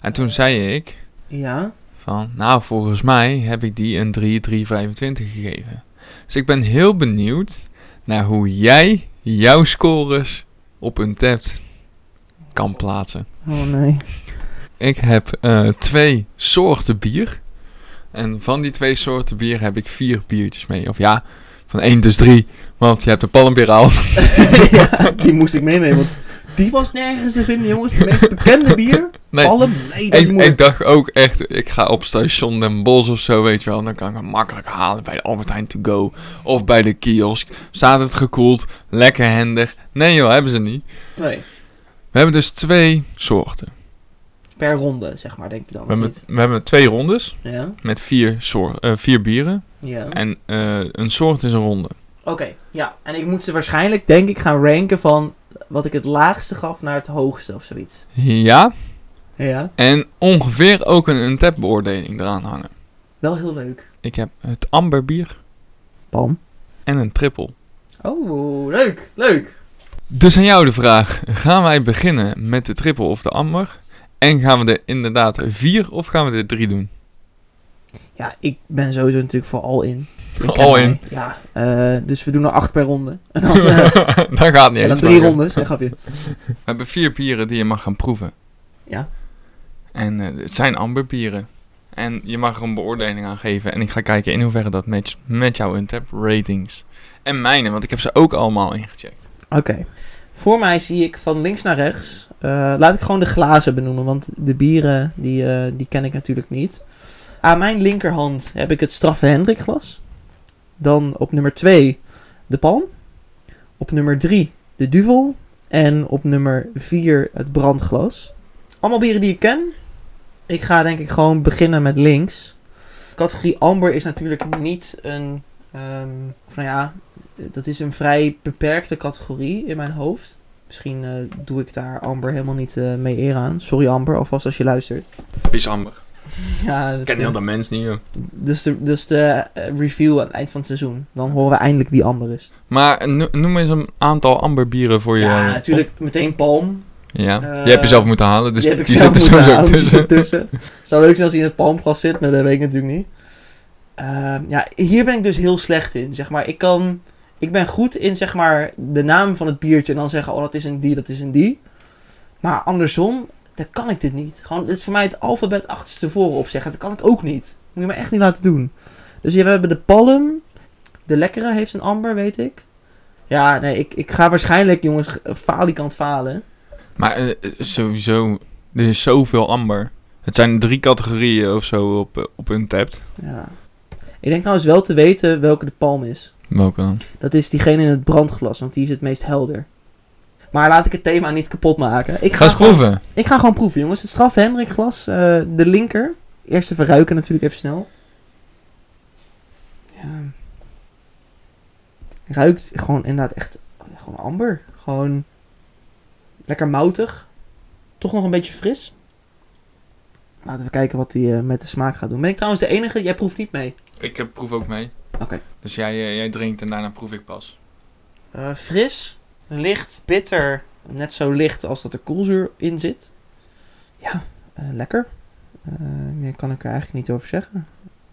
En toen zei ik, Ja, Van, nou, volgens mij heb ik die een 3-3-25 gegeven. Dus ik ben heel benieuwd naar hoe jij jouw scores op een tapt kan plaatsen. oh nee. Ik heb eh, twee soorten bier. En van die twee soorten bier heb ik vier biertjes mee. Of ja, van één dus drie, want je hebt de palmbeer al. ja, die moest ik meenemen, want die was nergens te vinden, jongens. De meest bekende bier. Nee, Alle nee, dat is ik, ik moeilijk. dacht ook echt, ik ga op station Den Bosch of zo, weet je wel. Dan kan ik hem makkelijk halen bij de Albert Heijn To Go of bij de kiosk. Staat het gekoeld, lekker hendig. Nee joh, hebben ze niet. Nee, We hebben dus twee soorten. per ronde, zeg maar, denk ik dan. of We hebben, niet? we hebben twee rondes Ja, met vier, soor- eh, vier bieren. ja. En eh, een soort is een ronde. Oké, ja. En ik moet ze waarschijnlijk, denk ik, gaan ranken van wat ik het laagste gaf naar het hoogste of zoiets. Ja, Ja, en ongeveer ook een tap beoordeling eraan hangen. wel heel leuk. Ik heb het amberbier Pam. en een triple. Oh, leuk, leuk. Dus aan jou de vraag: gaan wij beginnen met de triple of de amber? En gaan we er inderdaad vier of gaan we er drie doen? Ja, ik ben sowieso natuurlijk voor all in. Je kent All mij. in. Ja, eh, dus we doen er acht per ronde. En dan, eh, Daar gaat niet en dan eens. drie maar- rondes, hè, grapje. We hebben vier bieren die je mag gaan proeven. Ja. En eh, het zijn amberbieren. En je mag er een beoordeling aan geven. En ik ga kijken in hoeverre dat matcht met jouw Untap ratings. En mijne, want ik heb ze ook allemaal ingecheckt. Oké. Voor mij zie ik van links naar rechts. eh, laat ik gewoon de glazen benoemen, want de bieren die, eh, die ken ik natuurlijk niet. Aan mijn linkerhand heb ik het straffe Hendrik glas. Dan op nummer 2 de palm. Op nummer 3 de duvel. En op nummer 4 het brandglas. Allemaal bieren die ik ken. Ik ga denk ik gewoon beginnen met links. Categorie amber is natuurlijk niet een... ehm, of nou ja, dat is een vrij beperkte categorie in mijn hoofd. Misschien eh, doe ik daar Amber helemaal niet eh, mee eer aan. Sorry Amber, alvast als je luistert. Pies Amber. Ja, dat, Ik ken heel eh, dat mens niet, joh. dus de, dus de eh, review aan het eind van het seizoen. Dan horen we eindelijk wie Amber is. Maar eh, no- noem eens een aantal Amber bieren voor je. eh, Ja, natuurlijk meteen Palm. Ja, Eh, die heb je zelf moeten halen, dus die heb ik die zelf zit er moeten sowieso halen, die zit tussen. ertussen. Zou leuk zijn als hij in het palmglas zit, maar dat weet ik natuurlijk niet. Ehm, ja, hier ben ik dus heel slecht in, zeg maar. Ik kan... Ik ben goed in, zeg maar, de naam van het biertje en dan zeggen, oh, dat is een die, dat is een die. Maar andersom, dan kan ik dit niet. Gewoon, dit is voor mij het alfabet achterstevoren opzeggen. Dat kan ik ook niet. Moet je me echt niet laten doen. Dus hier, we hebben de palm. De lekkere heeft een amber, weet ik. Ja, nee, ik, ik ga waarschijnlijk, jongens, g- falikant falen. Maar eh, eh, sowieso, er is zoveel Amber. Het zijn drie categorieën of zo op, eh, op hun tab. Ja. Ik denk trouwens wel te weten welke de palm is. Welke dan? Dat is diegene in het brandglas, want die is het meest helder. Maar laat ik het thema niet kapot maken. Ik Ga eens gewoon, proeven. ik ga gewoon proeven, jongens. Het straf Hendrik glas, eh, de linker. Eerst even ruiken natuurlijk even snel. Ja. Ruikt gewoon inderdaad echt gewoon amber. Gewoon lekker moutig. Toch nog een beetje fris. Laten we kijken wat hij eh, met de smaak gaat doen. Ben ik trouwens de enige? Jij proeft niet mee. Ik eh, proef ook mee. Oké. Dus jij, eh, jij drinkt en daarna proef ik pas. Eh, fris, licht, bitter. Net zo licht als dat er koelzuur in zit. Ja, eh, lekker. Eh, meer kan ik er eigenlijk niet over zeggen.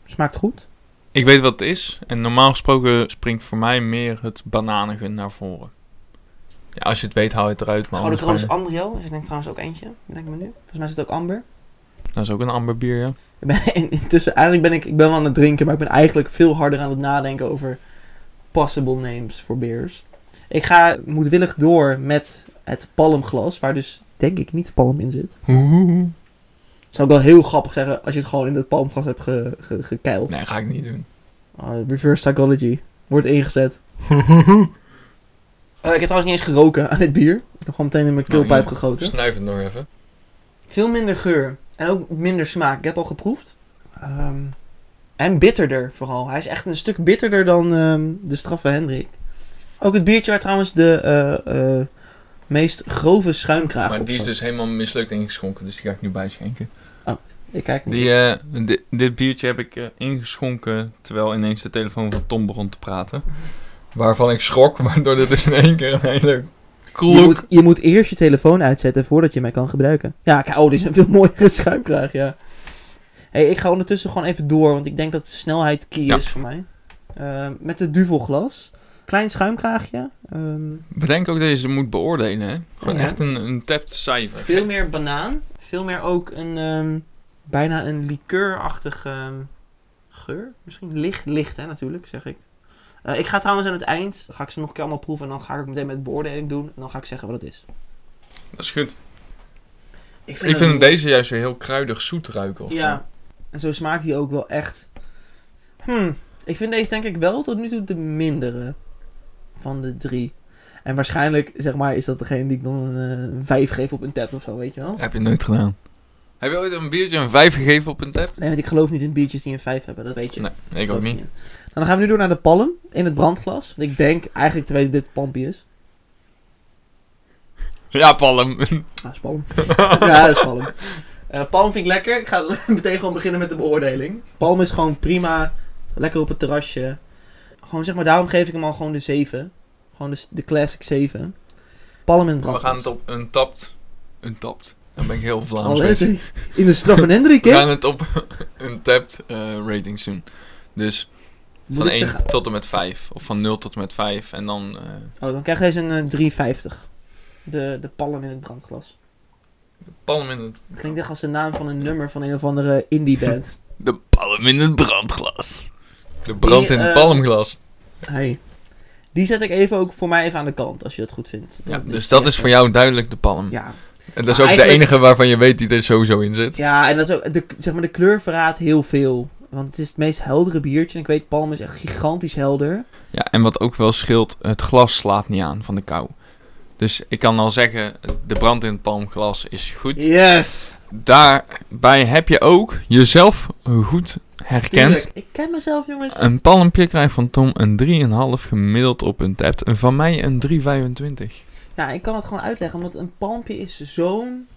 Smaakt goed. Ik weet wat het is. En normaal gesproken springt voor mij meer het bananigen naar voren. Ja, als je het weet, haal je het eruit. Maar Gouden kroon anders is ga je- Ambrio. Is er denk dus ik trouwens ook eentje. Denk ik me nu. Volgens mij zit ook Amber. dat is ook een amber bier, ja. Ik ben in- intussen, eigenlijk ben ik, ik ben wel aan het drinken, maar ik ben eigenlijk veel harder aan het nadenken over possible names voor beers. Ik ga moedwillig door met het palmglas, waar dus denk ik niet palm in zit. Hoehoe. Zou ik wel heel grappig zeggen als je het gewoon in dat palmglas hebt ge, ge, gekeild. Nee, ga ik niet doen. Ah, reverse psychology. Wordt ingezet. Eh, ik heb trouwens niet eens geroken aan dit bier. Ik heb gewoon meteen in mijn Nou, keelpijp ja. gegoten. Snuif het nog even. Veel minder geur. En ook minder smaak. Ik heb al geproefd. Ehm, en bitterder vooral. Hij is echt een stuk bitterder dan ehm, de straffe Hendrik. Ook het biertje waar trouwens de eh, eh, meest grove schuimkraag maar op die is zat. dus helemaal mislukt ingeschonken, dus die ga ik nu bijschenken. Ik kijk niet. Die, eh, di- dit biertje heb ik eh, ingeschonken terwijl ineens de telefoon van Tom begon te praten. Waarvan ik schrok, waardoor dit dus in één keer een hele Je kloek... moet, je moet eerst je telefoon uitzetten voordat je mij kan gebruiken. Ja, kijk, oh, dit is een veel mooiere schuimkraag, ja. hey, ik ga ondertussen gewoon even door, want ik denk dat de snelheid key Ja. is voor mij. Ehm, met het duvelglas. Klein schuimkraagje. ehm, Bedenk ook dat je ze moet beoordelen, hè? Gewoon Ja. echt een, een tapped cijfer. veel meer banaan. Veel meer ook een ehm, bijna een liqueurachtige ehm, geur. Misschien licht, licht hè, natuurlijk, zeg ik. Eh, ik ga trouwens aan het eind, ga ik ze nog een keer allemaal proeven en dan ga ik het meteen met beoordeling doen. En dan ga ik zeggen wat het is. Dat is goed. Ik ik vind deze juist weer heel kruidig zoet ruiken. Of zo. Ja, en zo smaakt die ook wel echt. Hmm, ik vind deze denk ik wel tot nu toe de mindere van de drie. En waarschijnlijk, zeg maar, is dat degene die ik dan een, eh, een vijf geef op een tap of zo, weet je wel? Heb je nooit gedaan. Heb je ooit een biertje een 5 gegeven op een tap? Nee, want ik geloof niet in biertjes die een vijf hebben, dat weet je. Nee, ik ook Geloof niet. ik in. Nou, dan gaan we nu door naar de palm in het brandglas. Want ik denk eigenlijk te weten dat dit palmpie is. Ja, Palm. Ah, dat is palm. ja, dat is palm. Eh, palm vind ik lekker. Ik ga meteen gewoon beginnen met de beoordeling. Palm is gewoon prima. Lekker op het terrasje. Gewoon zeg maar, daarom geef ik hem al gewoon de 7. Gewoon de, de classic 7. Palm in We brand. gaan het op een tapt. Een tapt. Dan ben ik heel Vlaams. Al bezig. is hij. In de straf en Hendrik, We hè? gaan het op een tapped eh, ratings doen. Dus Moet van ik 1 zeggen. tot en met 5. Of van 0 tot en met 5. En dan... eh, Oh, dan krijgt deze een eh, 3,50. De, de palm in het brandglas. palm in het... Klinkt echt als de naam van een nummer van een of andere indie band. De palm in het brandglas. De brand in het eh, palmglas. Hey. Die zet ik even ook voor mij even aan de kant, als je dat goed vindt. Ja, Dan dus die dat is echt- voor jou duidelijk de palm. Ja, En dat is Maar ook de eigenlijk- enige waarvan je weet die er sowieso in zit. Ja, en dat is ook, de, zeg maar, de kleur verraadt heel veel. Want het is het meest heldere biertje. En ik weet, palm is echt gigantisch helder. Ja, en wat ook wel scheelt, het glas slaat niet aan van de kou. Dus ik kan al zeggen, de brand in het palmglas is goed. Yes! Daarbij heb je ook jezelf goed herkent. Tuurlijk, ik ken mezelf, jongens. Een palmpje krijgt van Tom een 3,5 gemiddeld op een tap. En van mij een 3,25. Ja, ik kan het gewoon uitleggen, want een palmpje is zo'n...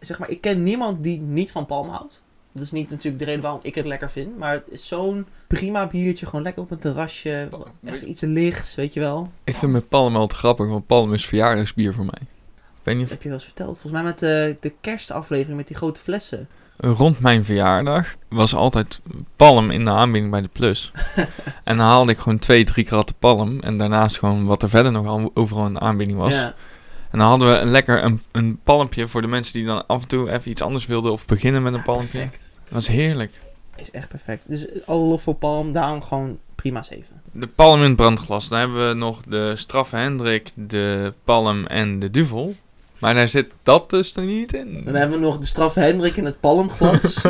Zeg maar, ik ken niemand die niet van palm houdt. Dat is niet natuurlijk de reden waarom ik het lekker vind, maar het is zo'n prima biertje, gewoon lekker op een terrasje. Echt iets lichts, weet je wel. Ik vind met palm altijd grappig, want palm is verjaardagsbier voor mij. Ik weet niet Dat heb je wel eens verteld. Volgens mij met eh, de kerstaflevering met die grote flessen. rond mijn verjaardag was altijd palm in de aanbieding bij de Plus. en dan haalde ik gewoon twee, drie kratten palm. En daarnaast gewoon wat er verder nog al- overal in de aanbieding was. Ja. En dan hadden we een lekker een, een palmpje voor de mensen die dan af en toe even iets anders wilden. Of beginnen met een palmpje. Perfect. Dat was heerlijk. Is echt perfect. Dus eh, alle lof voor palm, daarom gewoon prima 7. De palm in het brandglas. Dan hebben we nog de straffe Hendrik, de palm en de duvel. Maar daar zit dat dus er niet in. Dan hebben we nog de straf Hendrik in het palmglas.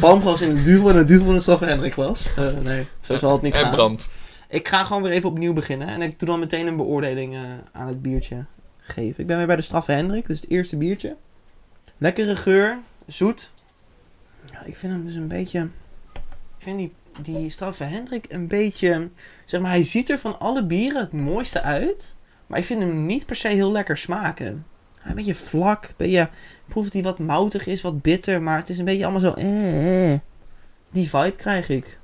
palmglas in het duvel en het duvel in het straf Hendrik glas. Eh, nee, zo zal het niet En gaan. brand. Ik ga gewoon weer even opnieuw beginnen. En ik doe dan meteen een beoordeling eh, aan het biertje geven. Ik ben weer bij de straffe Hendrik. Dus het eerste biertje. Lekkere geur. Zoet. Ja, ik vind hem dus een beetje... Ik vind die, die straffe Hendrik een beetje... Zeg maar, hij ziet er van alle bieren het mooiste uit. Maar ik vind hem niet per se heel lekker smaken. Hij Een beetje vlak. Een beetje, proef dat hij wat moutig is, wat bitter. Maar het is een beetje allemaal zo... eh, eh. Die vibe krijg ik.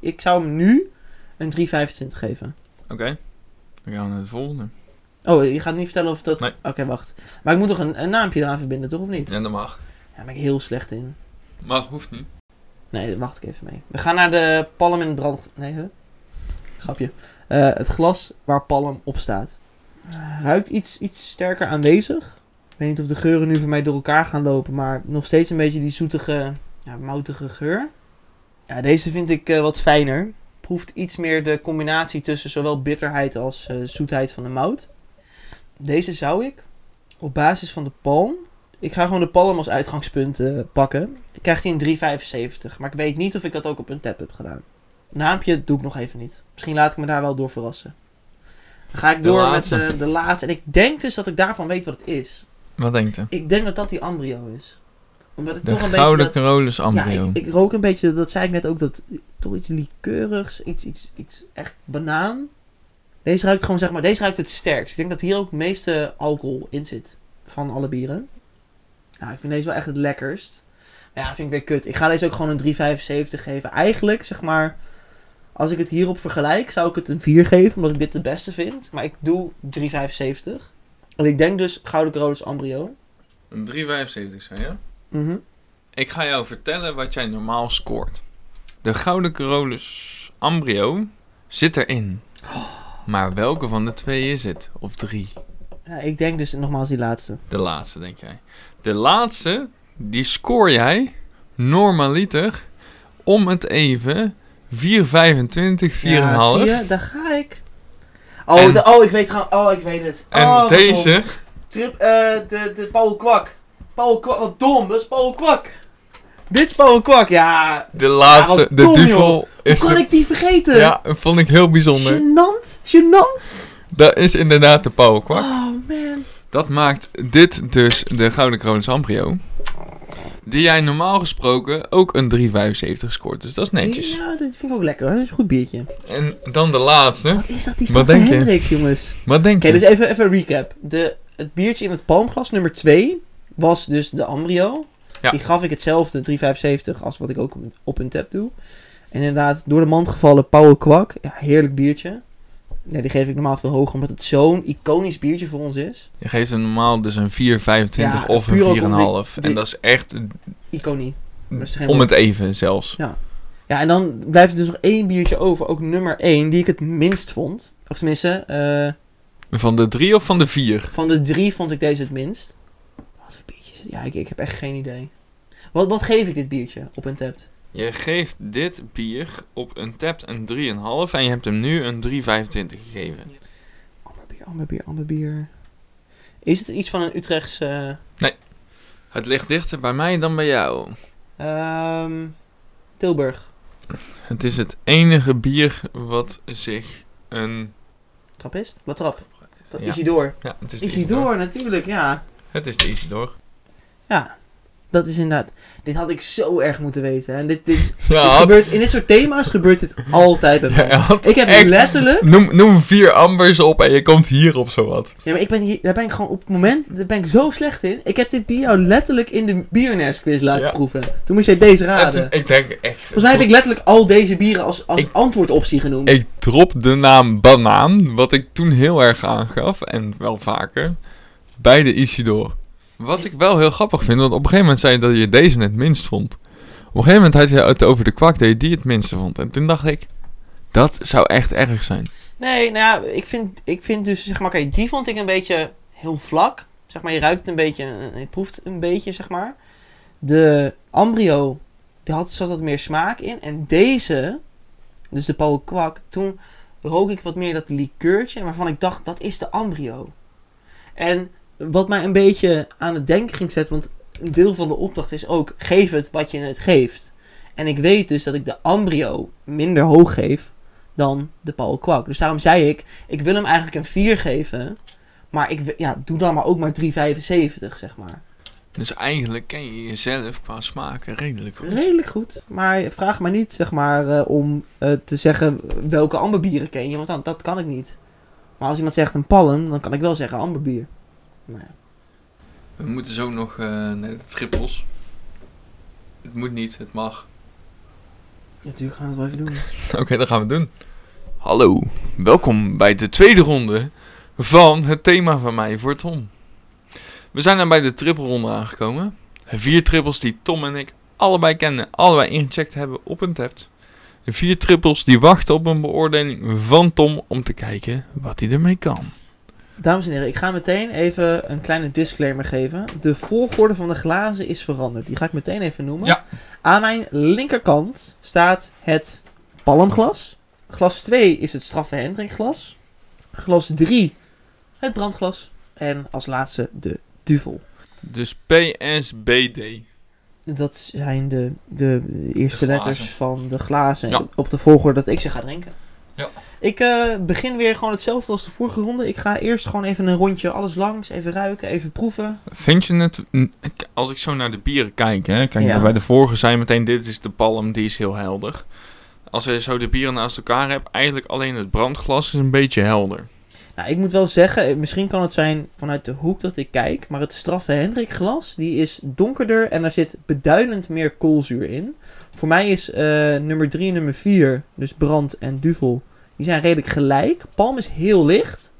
Ik zou hem nu een 3,25 geven. Oké. Dan gaan we naar de volgende. Oh, je gaat niet vertellen of dat... Nee. Oké, wacht. Maar ik moet toch een, een naampje eraan verbinden, toch? Of niet? Ja, En dat mag. daar ben ik heel slecht in. Mag, hoeft niet. Nee, daar wacht ik even mee. We gaan naar de palm in het brand... Nee, hè? Grapje. Eh, het glas waar palm op staat. Eh, Ruikt iets, iets sterker aanwezig. Ik weet niet of de geuren nu voor mij door elkaar gaan lopen, maar nog steeds een beetje die zoetige, ja, moutige geur. Ja, deze vind ik eh, wat fijner. Proeft iets meer de combinatie tussen zowel bitterheid als eh, zoetheid van de mout. Deze zou ik op basis van de palm. Ik ga gewoon de palm als uitgangspunt eh, pakken. Ik krijg die een 3,75. Maar ik weet niet of ik dat ook op een tap heb gedaan. Naampje doe ik nog even niet. Misschien laat ik me daar wel door verrassen. Dan ga ik De door laatste. met eh, de laatste. En ik denk dus dat ik daarvan weet wat het is. Wat denkt u? Ik denk dat dat die Ambrio is. Omdat ik De toch een Gouden beetje. Dat, Carolus Ambrio. Ja, ik, ik rook een beetje, dat zei ik net ook, dat toch iets likeurigs, iets, iets, iets echt banaan. Deze ruikt gewoon, zeg maar, deze ruikt het sterkst. Ik denk dat hier ook het meeste alcohol in zit van alle bieren. Ja, ik vind deze wel echt het lekkerst. Maar ja, vind ik weer kut. Ik ga deze ook gewoon een 3,75 geven. Eigenlijk, zeg maar, als ik het hierop vergelijk, zou ik het een 4 geven, omdat ik dit het beste vind. Maar ik doe 3,75. En ik denk dus Gouden Carolus Ambrio. Een 3,75 zijn, ja? Mhm. Ik ga jou vertellen wat jij normaal scoort. De Gouden Carolus Ambrio zit erin. Oh. Maar welke van de twee is het? Of drie? Ja, ik denk dus nogmaals die laatste. De laatste, denk jij. De laatste, die scoor jij normaliter om het even 4,25, 4,5. Ja, zie je? Daar ga ik. Oh, En- de- oh, ik weet gewoon. Oh, ik weet het. en oh, wat dom. deze, Trip, eh, de, de Paul Kwak. Paul Kwak, wat dom. Dat is Paul Kwak. Dit is Paul Kwak, ja. de laatste, Ja, wat de dom, duvel. Hoe Is kon de- ik die vergeten? Ja, vond ik heel bijzonder. Genant, genant. Dat is inderdaad de powerquark. Oh, man. Dat maakt dit dus de Gouden Kronis Ambrio. Die jij normaal gesproken ook een 3,75 scoort. Dus dat is netjes. Ja, dit vind ik ook lekker. hoor. Dat is een goed biertje. En dan de laatste. Wat is dat, die Wat stad van denk je? Hendrik, jongens? Wat denk Oké, je? dus even, even recap. De, het biertje in het palmglas nummer 2 was dus de Ambrio. Ja. Die gaf ik hetzelfde, 3,75, als wat ik ook op een- op een tap doe. En inderdaad, door de mand gevallen Pauwe Kwak. Ja, heerlijk biertje. Ja, die geef ik normaal veel hoger, omdat het zo'n iconisch biertje voor ons is. Je geeft hem normaal dus een 4,25 Ja, of puur ook om een 4,5. die- En dat is echt Iconie. Dat is geen om woord. het even zelfs. Ja, en dan blijft er dus nog één biertje over, ook nummer 1, die ik het minst vond. Of tenminste, eh, Van de 3 of van de 4? Van de drie vond ik deze het minst. Wat voor biertje is het? Ja, ik, ik heb echt geen idee. Wat, wat geef ik dit biertje op een tap? Je geeft dit bier op een tap een 3,5 en je hebt hem nu een 3,25 gegeven. Amber bier, amber bier, amber bier. Is het iets van een Utrechtse... Het ligt dichter bij mij dan bij jou. ehm, Tilburg. Het is het enige bier wat zich een... Trappist? La Trap. Dat Ja. Isidor. Ja, het is de Isidor, natuurlijk, ja. Het is de Isidor. Ja. Dat is inderdaad. Dit had ik zo erg moeten weten. En dit, dit, is- Ja, dit had- gebeurt, in dit soort thema's gebeurt dit altijd bij mij. ja, had ik heb echt- letterlijk. Noem, noem vier ambers op en je komt hier op zowat. Ja, maar ik ben hier, daar ben ik gewoon op het moment. Daar ben ik zo slecht in. Ik heb dit bier jou letterlijk in de biernairs quiz laten Ja. proeven. Toen moest jij deze En raden. toen, ik denk echt... Volgens mij heb ik letterlijk al deze bieren als, als Ik- antwoordoptie genoemd. Ik drop de naam banaan, wat ik toen heel erg aangaf, en wel vaker, bij de Isidor. Wat ik wel heel grappig vind, want op een gegeven moment zei je dat je deze het minst vond. Op een gegeven moment had je het over de kwak dat je die het minste vond. En toen dacht ik, dat zou echt erg zijn. Nee, nou ja, ik vind, ik vind dus, zeg maar, kijk, die vond ik een beetje heel vlak. Zeg maar, je ruikt het een beetje, eh, je proeft het een beetje, zeg maar. De Ambrio, die had, zat wat meer smaak in. En deze, dus de Paul Kwak, toen rook ik wat meer dat likeurtje, waarvan ik dacht, dat is de Ambrio. En wat mij een beetje aan het denken ging zetten, want een deel van de opdracht is ook, geef het wat je het geeft. En ik weet dus dat ik de Ambrio minder hoog geef dan de Paul Kwak. Dus daarom zei ik, ik wil hem eigenlijk een 4 geven. Maar ik, wi- ja, doe dan maar ook maar 3,75, zeg maar. Dus eigenlijk ken je jezelf qua smaken redelijk goed. Redelijk goed. Maar vraag maar niet, zeg maar, eh, om eh, te zeggen welke amberbieren ken je. Want dan, dat kan ik niet. Maar als iemand zegt een palm, dan kan ik wel zeggen amberbier. Nou ja. We moeten zo nog eh, naar de trippels. Het moet niet, het mag. Natuurlijk gaan we het wel even doen. Oké, dat gaan we doen. Hallo, welkom bij de tweede ronde van het thema van mij voor Tom. We zijn dan bij de trippelronde aangekomen. Vier trippels die Tom en ik allebei kennen, allebei ingecheckt hebben op een tab. Vier trippels die wachten op een beoordeling van Tom om te kijken wat hij ermee kan. Dames en heren, ik ga meteen even een kleine disclaimer geven. De volgorde van de glazen is veranderd. Die ga ik meteen even noemen. Ja. Aan mijn linkerkant staat het palmglas. Glas 2 is het straffe Hendrikglas. Glas 3 het brandglas. En als laatste de duvel. Dus PSBD. Dat zijn de, de, de eerste De glazen. letters van de glazen Ja. op de volgorde dat ik ze ga drinken. Ja. Ik eh, begin weer gewoon hetzelfde als de vorige ronde. Ik ga eerst gewoon even een rondje alles langs. Even ruiken, even proeven. Vind je het, n- k- als ik zo naar de bieren kijk, hè, kijk Ja. bij de vorige zijn meteen, dit is de palm, die is heel helder. Als je zo de bieren naast elkaar hebt, eigenlijk alleen het brandglas is een beetje helder. Nou, ik moet wel zeggen, eh, misschien kan het zijn vanuit de hoek dat ik kijk, maar het straffe Hendrik glas, die is donkerder en daar zit beduidend meer koolzuur in. Voor mij is eh, nummer 3 en nummer 4, dus brand en duvel, die zijn redelijk gelijk. Palm is heel licht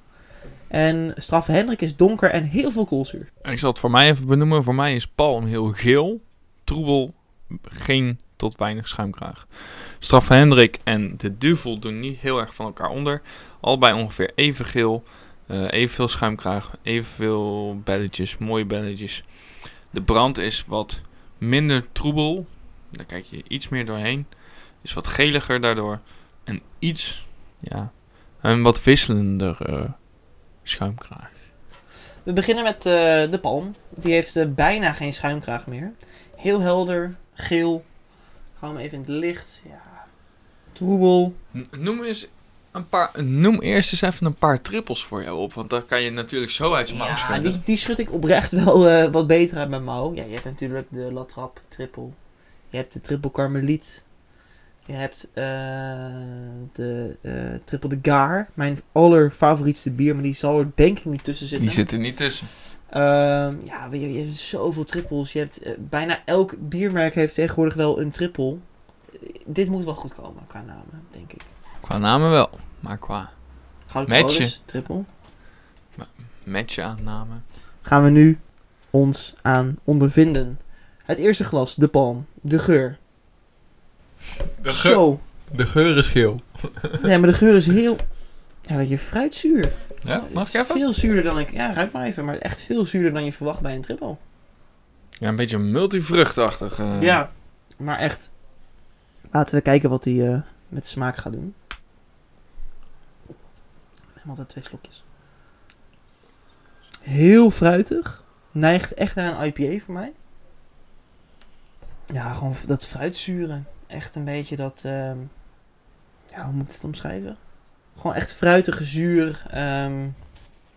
en straffe Hendrik is donker en heel veel koolzuur. En ik zal het voor mij even benoemen, voor mij is palm heel geel, troebel, geen tot weinig schuimkraag. Straf Hendrik en de duvel doen niet heel erg van elkaar onder. Allebei ongeveer even geel, eh, evenveel schuimkraag, evenveel belletjes, mooie belletjes. De brand is wat minder troebel. Daar kijk je iets meer doorheen. Is wat geliger daardoor. En iets, ja, een wat wisselender eh, schuimkraag. We beginnen met eh, de palm. Die heeft eh, bijna geen schuimkraag meer. Heel helder, geel. Hou hem even in het licht. Ja, troebel. N- Noem eens een paar. Noem eerst eens even een paar trippels voor jou op. Want daar kan je natuurlijk zo uit je mouw Ja, schudden. die, die schud ik oprecht wel eh, wat beter uit mijn mouw. Ja, je hebt natuurlijk de latrap triple. Je hebt de triple karmeliet. Je hebt eh, de eh, triple de gar. Mijn allerfavorietste bier, maar die zal er denk ik niet tussen zitten. Die zit er niet tussen. Ehm, ja, je, je hebt zoveel trippels. Je hebt, eh, bijna elk biermerk heeft tegenwoordig wel een triple. Eh, dit moet wel goed komen qua namen, denk ik. Qua namen wel. Maar qua Gouden Matchen. Corollas, triple. match aanname. gaan we nu ons aan ondervinden. Het eerste glas, de palm, de geur. De Zo. de geur is geel. Nee, maar de geur is heel... Ja, weet je, fruitzuur. Ja, Het mag is ik even? Veel zuurder dan ik... Ja, ruik maar even. Maar echt veel zuurder dan je verwacht bij een triple. Ja, een beetje multivruchtachtig. eh. Ja, maar echt. Laten we kijken wat hij eh, met smaak gaat doen. Ik neem altijd twee slokjes. Heel fruitig. Neigt echt naar een IPA voor mij. Ja, gewoon dat fruitzuren. Echt een beetje dat... ehm, ja, hoe moet ik het omschrijven? Gewoon echt fruitige zuur. ehm,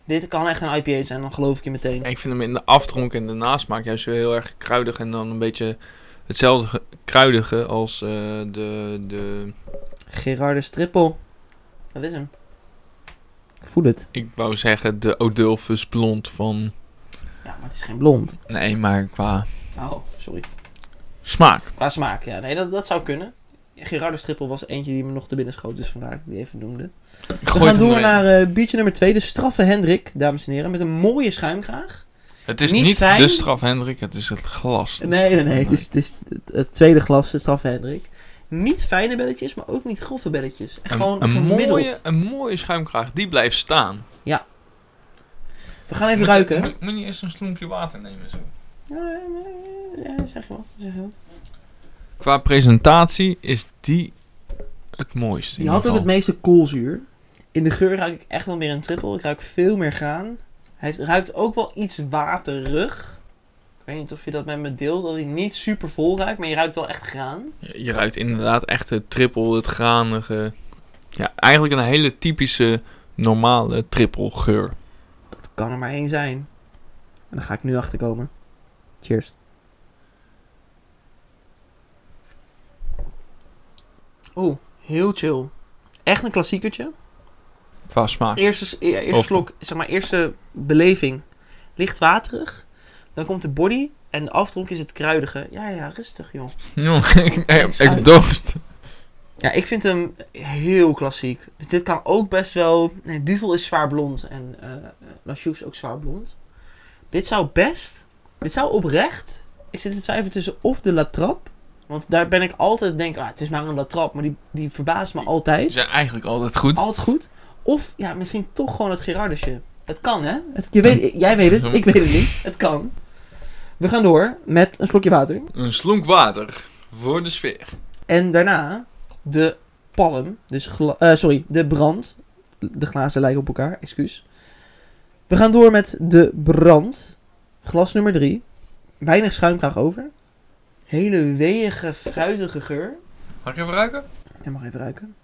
Dit kan echt een IPA zijn, dan geloof ik je meteen. Ik vind hem in de aftronk en de nasmaak juist weer heel erg kruidig. En dan een beetje hetzelfde ge- kruidige als eh, de, de... Gerardus Trippel. Dat is hem. Ik voel het. Ik wou zeggen de Odulfus blond van... Ja, maar het is geen blond. Nee, maar qua Oh, sorry. smaak. Qua smaak, ja. Nee, dat, dat zou kunnen. Gerardus Trippel was eentje die me nog te binnen schoot, dus vandaar dat ik die even noemde. Ik We gooi gaan het hem door erin. naar eh, biertje nummer 2, de straffe Hendrik, dames en heren. Met een mooie schuimkraag. Het is eh, niet niet, fijn. de straf, Hendrik. Het is het glas. Dus- Nee, nee, nee. Het is, het, is het, het tweede glas, de straffe Hendrik. Niet fijne belletjes, maar ook niet grove belletjes. Een, Gewoon een, gemiddeld. mooie, een mooie schuimkraag. Die blijft staan. We gaan even ruiken. Moet, moet je eerst een slonkje water nemen zo. Ja, ja, zeg je wat, zeg je wat. Qua presentatie is die het mooiste. Die had ook het meeste koolzuur. In de geur ruik ik echt wel meer een trippel. Ik ruik veel meer graan. Hij heeft, ruikt ook wel iets waterig. Ik weet niet of je dat met me deelt, dat hij niet super vol ruikt, maar je ruikt wel echt graan. Je, je ruikt inderdaad echt het trippel, het granige. Ja, eigenlijk een hele typische normale trippelgeur. Dat kan er maar één zijn. En daar ga ik nu achter komen. Cheers. Oeh, heel chill. Echt een klassiekertje. Qua smaak. Eerste, e- eerste Of- slok, zeg maar, eerste beleving. Licht waterig. Dan komt de body. En de aftronk is het kruidige. Ja, ja, rustig, joh. Ja, ik, ik, Niks uit. ik dorst. Ja, ik vind hem heel klassiek. Dus dit kan ook best wel... Nee, Duvel is zwaar blond. En eh La Chouffe is ook zwaar blond. Dit zou best... Dit zou oprecht... Ik zit te twijfelen tussen of de La Trappe. Want daar ben ik altijd denk... Ah, het is maar een La Trappe. Maar die, die verbaast me altijd. Die zijn eigenlijk altijd goed. altijd goed. Of ja, misschien toch gewoon het Gerardusje. Het kan, hè? Het, je weet, jij weet het, ik weet het niet. Het kan. We gaan door met een slokje water. Een slonk water voor de sfeer. En daarna de palm, dus gla- eh, sorry, de brand. De glazen lijken op elkaar, excuus. We gaan door met de brand. Glas nummer 3. Weinig schuimkraag over. Hele weeige, fruitige geur. Mag ik even ruiken? En mag even ruiken.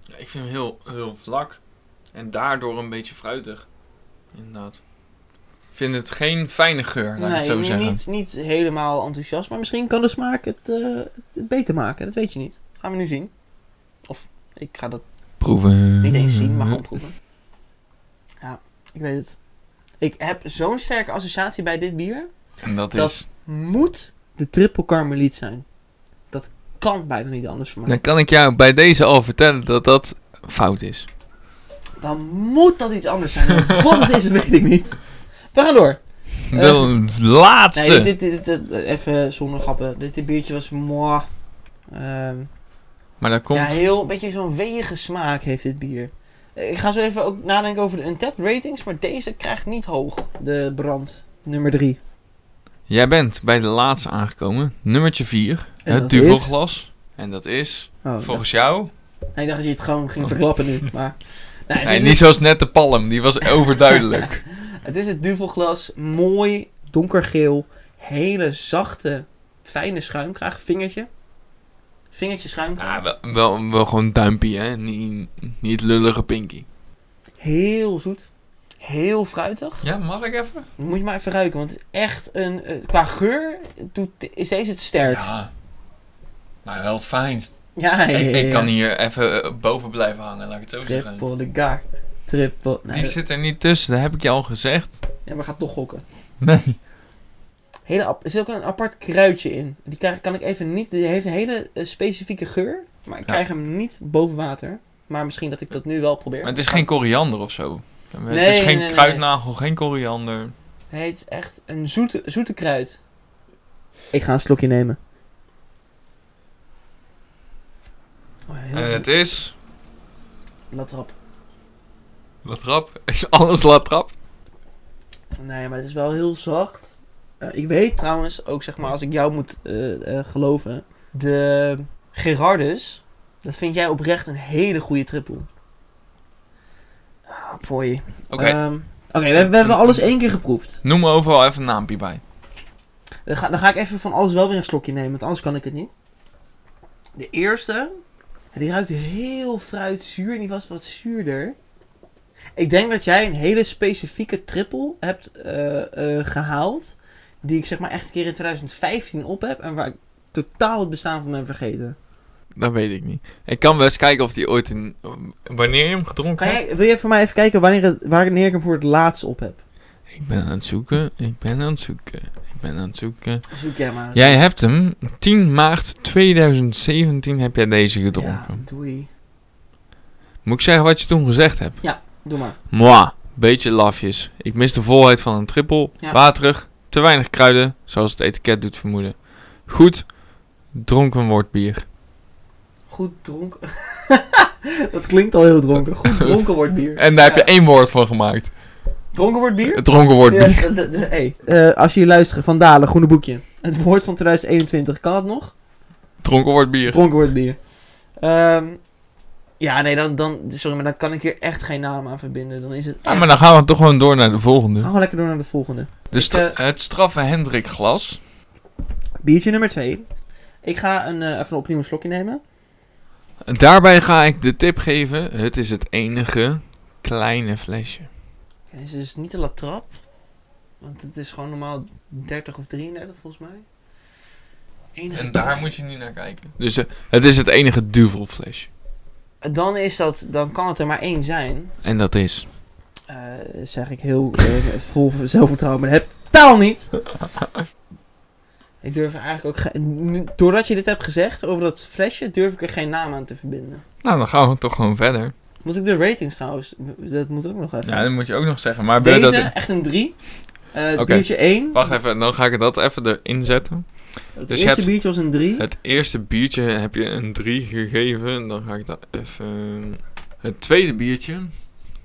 Ja, ik vind hem heel, heel vlak. En daardoor een beetje fruitig. Inderdaad. Ik vind het geen fijne geur, laat ik het Nee, zo niet, zeggen. niet, niet helemaal enthousiast. Maar misschien kan de smaak het, eh, het beter maken. Dat weet je niet. Gaan we nu zien. Of ik ga dat Proeven. niet eens zien, maar gewoon Mm-hmm. proeven. Ja, ik weet het. Ik heb zo'n sterke associatie bij dit bier. En dat, Dat- is... Moet de triple karmeliet zijn. Dat kan bijna niet anders voor mij. Dan kan ik jou bij deze al vertellen dat dat fout is. Dan moet dat iets anders zijn. Wat het is, weet ik niet. We gaan door. De laatste. Eh. Nee, dit, dit, dit- dit- even zonder grappen. Dit, dit biertje was mooi. Ehm, Maar dat komt... Ja, heel beetje zo'n weege smaak heeft dit bier. Eh, Ik ga zo even ook nadenken over de untapped ratings, maar deze krijgt niet hoog. De brand nummer 3. Jij bent bij de laatste aangekomen. Nummertje 4. Het duvelglas. En dat is, Oh, volgens jou... dat- nee, ik dacht dat je het gewoon ging verklappen nu. Maar, nee, het, Oh. Nee, is niet het, zoals net de palm. Die was overduidelijk. het is het duvelglas. Mooi donkergeel. Hele zachte, fijne schuimkraag. Vingertje. Vingertje schuimkraag. Ah, wel, wel, wel gewoon duimpie, hè? Niet, niet lullige pinky. Heel zoet. Heel fruitig. Ja, mag ik even? Moet je maar even ruiken, want het is echt een... eh, qua geur doet, is deze het sterkst. Ja. Maar wel het fijnst. Ja, ja, Ik, ja, ik ja. kan hier even eh, boven blijven hangen, laat ik het zo zeggen. Triple de gar. Triple. Nee, Die zit er niet tussen, dat heb ik je al gezegd. ja, maar ga toch gokken. Nee. Hele ap- er zit ook een apart kruidje in. Die krijg, kan ik even niet. Die heeft een hele eh, specifieke geur. Maar ik Ja. krijg hem niet boven water. Maar misschien dat ik dat nu wel probeer. Maar het is geen koriander of zo. Nee, het is nee, geen nee, kruidnagel, geen koriander. Nee, het is echt een zoete, zoete kruid. Ik ga een slokje nemen. Oh, heel En goed. Eh, het is. Latrap. Latrap. Is alles latrap? Nee, maar het is wel heel zacht. Eh, ik weet trouwens ook, zeg maar, als ik jou moet eh, eh, geloven. De Gerardus, dat vind jij oprecht een hele goede triple. Ah, boy. Oké, Ehm, Oké, we, hebben- we hebben alles één keer geproefd. noem me overal even een naampje bij. Dan ga, dan ga ik even van alles wel weer een slokje nemen, want anders kan ik het niet. De eerste, die ruikt heel fruitzuur en die was wat zuurder. Ik denk dat jij een hele specifieke triple hebt eh, eh, gehaald. Die ik zeg maar echt een keer in 2015 op heb. En waar ik totaal het bestaan van ben vergeten. Dat weet ik niet. Ik kan wel eens kijken of die ooit in... Wanneer je hem gedronken Kan hebt. jij, wil je voor mij even kijken wanneer, het- wanneer ik hem voor het laatst op heb? Ik ben aan het zoeken. Ik ben aan het zoeken. Ik ben aan het zoeken. Zoek jij maar. eens. Jij hebt hem. 10 maart 2017 heb jij deze gedronken. Ja, doei. Moet ik zeggen wat je toen gezegd hebt? Doe maar. Mwah, beetje lafjes. Ik mis de volheid van een trippel. Ja. Waterig, te weinig kruiden, zoals het etiket doet vermoeden. Goed, dronken wordt bier. Goed dronken. dat klinkt al heel dronken. Goed dronken wordt bier. En daar Ja. heb je één woord van gemaakt. Dronken wordt bier? Het dronken wordt bier. Ja, d- d- d- hey. Eh, als jullie luisteren, Van Dalen, Groene Boekje. Het woord van 2021, kan dat nog? Dronken wordt bier. Dronken wordt bier. Ehm, ja, nee, dan, dan, sorry, maar dan kan ik hier echt geen naam aan verbinden. Dan is het Ja, echt- Ah, maar dan gaan we toch gewoon door naar de volgende. Gaan we lekker door naar de volgende. De stra- eh, het straffe Hendrik Glas. Biertje nummer 2. Ik ga een, eh, even opnieuw een slokje nemen. Daarbij ga ik de tip geven. Het is het enige kleine flesje. Oké, Dit is dus niet de latrap. Want het is gewoon normaal 30 of 33 volgens mij. Enige En daar moet je niet naar kijken. Dus eh, het is het enige duvelflesje. Dan, is dat, dan kan het er maar één zijn. En dat is... Eh, zeg ik heel eh, vol zelfvertrouwen, maar dat heb ik totaal niet. ik durf er eigenlijk ook geen... nu- Doordat je dit hebt gezegd over dat flesje, durf ik er geen naam aan te verbinden. Nou, dan gaan we toch gewoon verder. Moet ik de ratings trouwens... Dat moet ook nog even. Ja, dat moet je ook nog zeggen. Maar Deze, dat, echt een 3. Eh Oké. Biertje 1. Wacht even, dan ga ik dat even erin zetten. Het dus je eerste hebt- biertje was een 3. Het eerste biertje heb je een 3 gegeven. en Dan ga ik dat even. Het tweede biertje,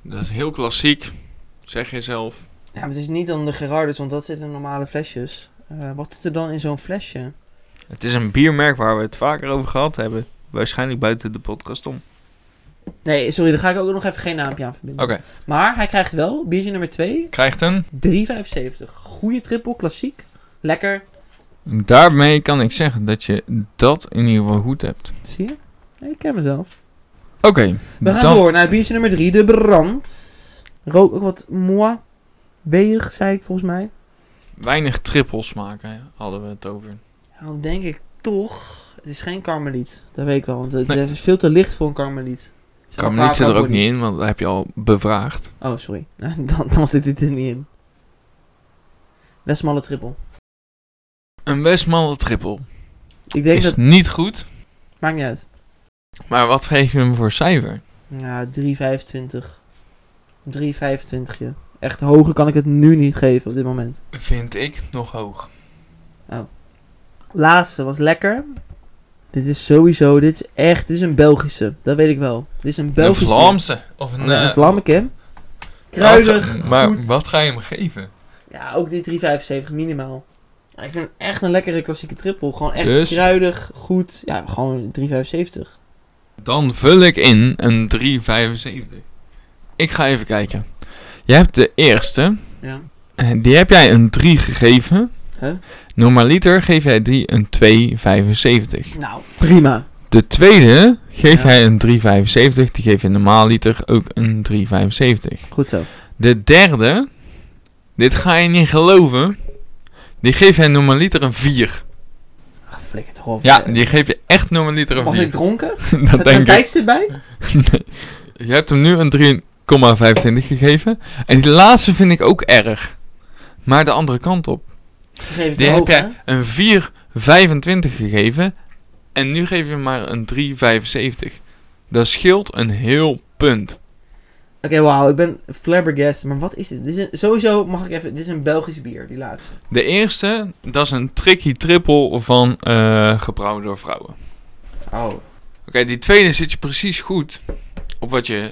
dat is heel klassiek. Zeg jezelf. Ja, maar het is niet dan de Gerardus, want dat zitten in normale flesjes. Eh, wat zit er dan in zo'n flesje? Het is een biermerk waar we het vaker over gehad hebben. Waarschijnlijk buiten de podcast om. Nee, sorry, daar ga ik ook nog even geen naampje aan verbinden. Oké, Maar hij krijgt wel, biertje nummer 2, krijgt een. 3,75. Goeie triple, klassiek. Lekker. Daarmee kan ik zeggen dat je dat in ieder geval goed hebt. Zie je? Nee, ik ken mezelf. Oké, We gaan dan- door naar het biertje nummer 3, de brand. Rook ook wat moi. Weeg, zei ik volgens mij. Weinig trippels maken hadden we het over. Ja, dan denk ik toch, het is geen karmeliet. Dat weet ik wel, want het Nee. het is veel te licht voor een karmeliet. Zeg maar Kan niet qua- zit er qua ook body. niet in, want dat heb je al bevraagd. Oh, sorry. Dan, dan zit dit er niet in. Westmalle triple. Een Westmalle trippel. Ik denk is dat... niet goed, Maakt niet uit. maar wat geef je hem voor cijfer? Ja, 3,25. 3,25 je. Echt hoger kan ik het nu niet geven op dit moment. Vind ik nog hoog. Laatste was lekker. Dit is sowieso... Dit is echt... Dit is een Belgische. Dat weet ik wel. Dit is een Belgische... een Vlaamse. Of een, Een, een eh, Vlammeke. wat Kruidig. ga- maar goed. wat ga je hem geven? Ja, ook die 3,75 minimaal. Ja, Ik vind het echt een lekkere klassieke triple. Gewoon echt Dus? kruidig, goed. Ja, gewoon 3,75. Dan vul ik in een 3,75. Ik ga even kijken. Je hebt de eerste. Ja. Eh, Die heb jij een 3 gegeven. Huh? Normaliter geef jij die een 2,75. Nou, prima. De tweede geef Ja. jij een 3,75. Die geef je normaaliter ook een 3,75. Goed zo. De derde, dit ga je niet geloven, die geef jij normaliter een 4. Ach, flikker toch op. Ja, Eh, die geef je echt normaliter een Was 4. ik dronken? Dat denk ik. Thijs dit bij? Je hebt hem nu een 3,25 gegeven. En die laatste vind ik ook erg. Maar de andere kant op. Die geef ik Die te heb eh, hoog, hè? jij een 4,25 gegeven. En nu geef je hem maar een 3,75. Dat scheelt een heel punt. Oké, wauw. Ik ben flabbergast. Maar wat is dit? dit is een- sowieso mag ik even... Dit is een Belgisch bier, die laatste. De eerste, dat is een tricky triple van eh gebrouwen door vrouwen. Oh. Oké, die tweede zit je precies goed op wat je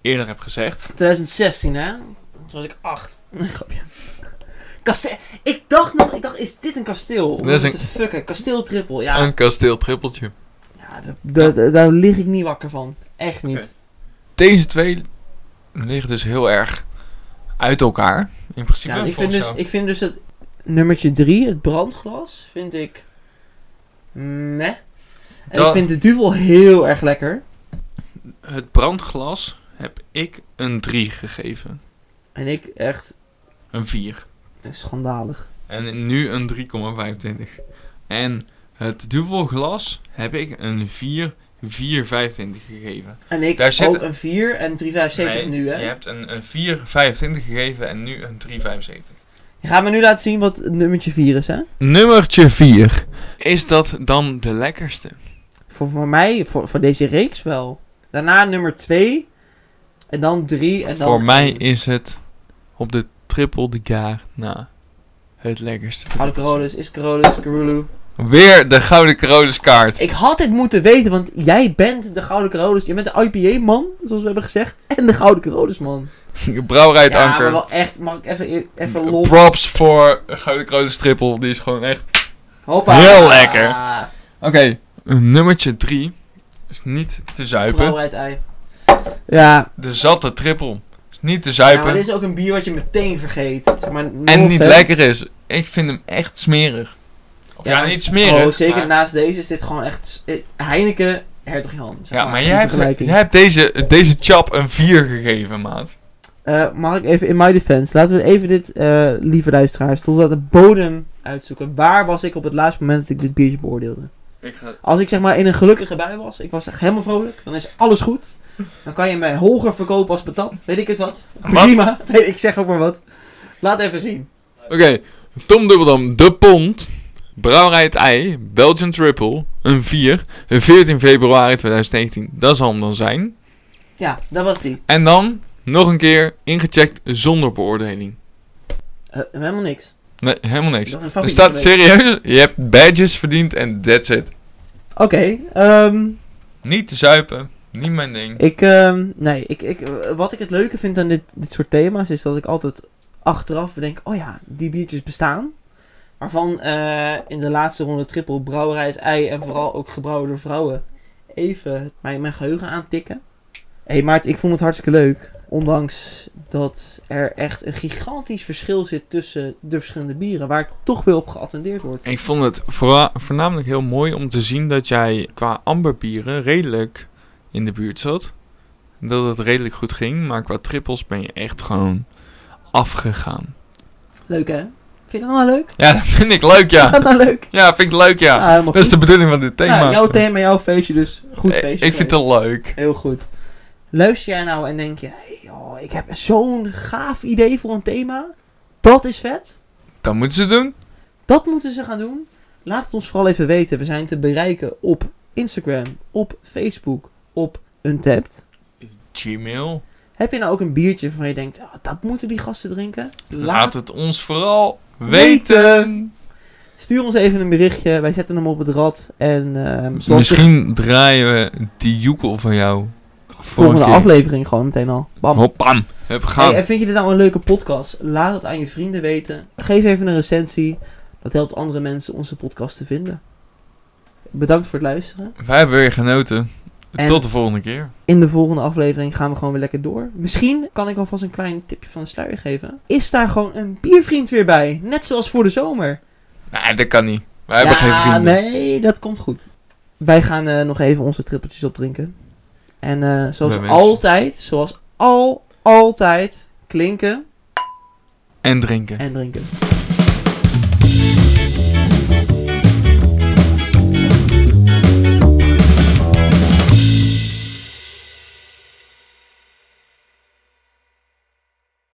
eerder hebt gezegd. 2016, hè? Toen was ik acht. Nee, grapje. Kaste- ik dacht nog... Ik dacht, is dit een kasteel? Dat is What een- the fuck, hè? Kasteel triple, ja. Een kasteel trippeltje. Ja, d- d- d- daar lig ik niet wakker van. Echt niet. Deze twee liggen dus heel erg uit elkaar. In principe. Ja, ik, vind volgens dus, jou. ik vind dus het nummertje 3, het brandglas, vind ik. Nee. En Dat- ik vind de duvel heel erg lekker. Het brandglas heb ik een 3 gegeven. En ik echt Een 4. schandalig. En nu een 3,25. En het dubbelglas heb ik een 4, 4,25 gegeven. En ik Daar zit- ook een 4 en 375 Nee, nu, hè? Je hebt een, een 4,25 gegeven en nu een 3,75. Je gaat me nu laten zien wat het nummertje 4 is, hè? Nummertje 4. Is dat dan de lekkerste? Voor, voor mij, voor, voor deze reeks wel. Daarna nummer 2. En dan 3. En dan Voor mij één. is het op de triple de gaar na het lekkerste. Gouden Carolus, is Carolus, Carulu. Weer de Gouden Carolus kaart. Ik had dit moeten weten, want jij bent de Gouden Carolus. Je bent de IPA-man, zoals we hebben gezegd. En de Gouden Carolus-man. Brouwerij het Ja, maar Anker. Eh, wel echt. Mag ik even, even los? Props voor Gouden Carolus triple. Die is gewoon echt... Hoppa. Ah, Heel lekker. Oké, nummertje 3 is niet te zuipen. Brouwerij het ei. Ja, De zatte triple is niet te ja, maar zuipen. dit is ook een bier wat je meteen vergeet. Zeg maar, no en niet offense. lekker is. Ik vind hem echt smerig. Of ja, maar- niet smerig. Oh, zeker maar- naast deze is dit gewoon echt eh, Heineken, Hertog Jan. zeg Ja, maar in jij hebt, vergelijking. jij hebt deze, deze chap een 4 gegeven, maat. Eh, mag ik even in my defense? Laten we even dit, eh, lieve luisteraars, tot aan de bodem uitzoeken. Waar was ik op het laatste moment dat ik dit biertje beoordeelde? Ik ga Als ik zeg maar in een gelukkige bui was, ik was echt helemaal vrolijk, dan is alles goed. Dan kan je mij hoger verkopen als patat, weet ik het wat. Prima, Nee, ik zeg ook maar wat. Laat even zien. Oké, Tom Dubbeldam, De Pont, Brouwerij het Ei, Belgian Triple, een 4, een 14 februari 2019. Dat zal hem dan zijn. Ja, dat was die. En dan, nog een keer, ingecheckt zonder beoordeling. Eh, helemaal niks. Nee, helemaal niks. Nog een Er fabriek staat geweest. serieus, je hebt badges verdiend en that's it. Oké, ehm, Niet te zuipen, niet mijn ding. Ik, ehm, nee, ik, ik, eh, wat ik het leuke vind aan dit, dit soort thema's is dat ik altijd achteraf bedenk, oh ja, die biertjes bestaan. Waarvan eh, in de laatste ronde triple brouwerijs ei en vooral ook gebrouwen door vrouwen even mijn, mijn geheugen aantikken. Hé hey Maarten, ik vond het hartstikke leuk. Ondanks dat er echt een gigantisch verschil zit tussen de verschillende bieren, waar ik toch weer op geattendeerd word. Ik vond het voora- voornamelijk heel mooi om te zien dat jij qua amberbieren redelijk in de buurt zat. Dat het redelijk goed ging, maar qua trippels ben je echt gewoon afgegaan. Leuk hè? Vind je dat nou leuk? Ja, dat vind ik leuk, Vind je ja. dat nou leuk? Ja, vind ik leuk, ja. Ah, helemaal Dat is de goed. bedoeling van dit thema. Nou, jouw thema, jouw feestje dus. Goed Ik- feestje Ik vind geweest. het leuk. Heel goed. Luister jij nou en denk je, hey, oh, ik heb zo'n gaaf idee voor een thema. Dat is vet. Dat moeten ze doen. Dat moeten ze gaan doen. Laat het ons vooral even weten. We zijn te bereiken op Instagram, op Facebook, op Untapped. Gmail. Heb je nou ook een biertje waarvan je denkt, ah, dat moeten die gasten drinken? Laat, Laat, het ons vooral Weten. weten. Stuur ons even een berichtje. Wij zetten hem op het rad. En ehm zoals de Misschien draaien we die joekel van jou. volgende keer. aflevering gewoon meteen al. Bam. Hoppam. Heb gaan. Hey, en vind je dit nou een leuke podcast? Laat het aan je vrienden weten. Geef even een recensie. Dat helpt andere mensen onze podcast te vinden. Bedankt voor het luisteren. Wij hebben weer genoten. En- Tot de volgende keer. In de volgende aflevering gaan we gewoon weer lekker door. Misschien kan ik alvast een klein tipje van de sluier geven. Is daar gewoon een biervriend weer bij? Net zoals voor de zomer. Nee, dat kan niet. Wij hebben geen vrienden. nee, dat komt goed. Wij gaan eh, nog even onze trippeltjes opdrinken. En eh, zoals Bij mensen. altijd, zoals al, altijd, klinken En drinken. en drinken.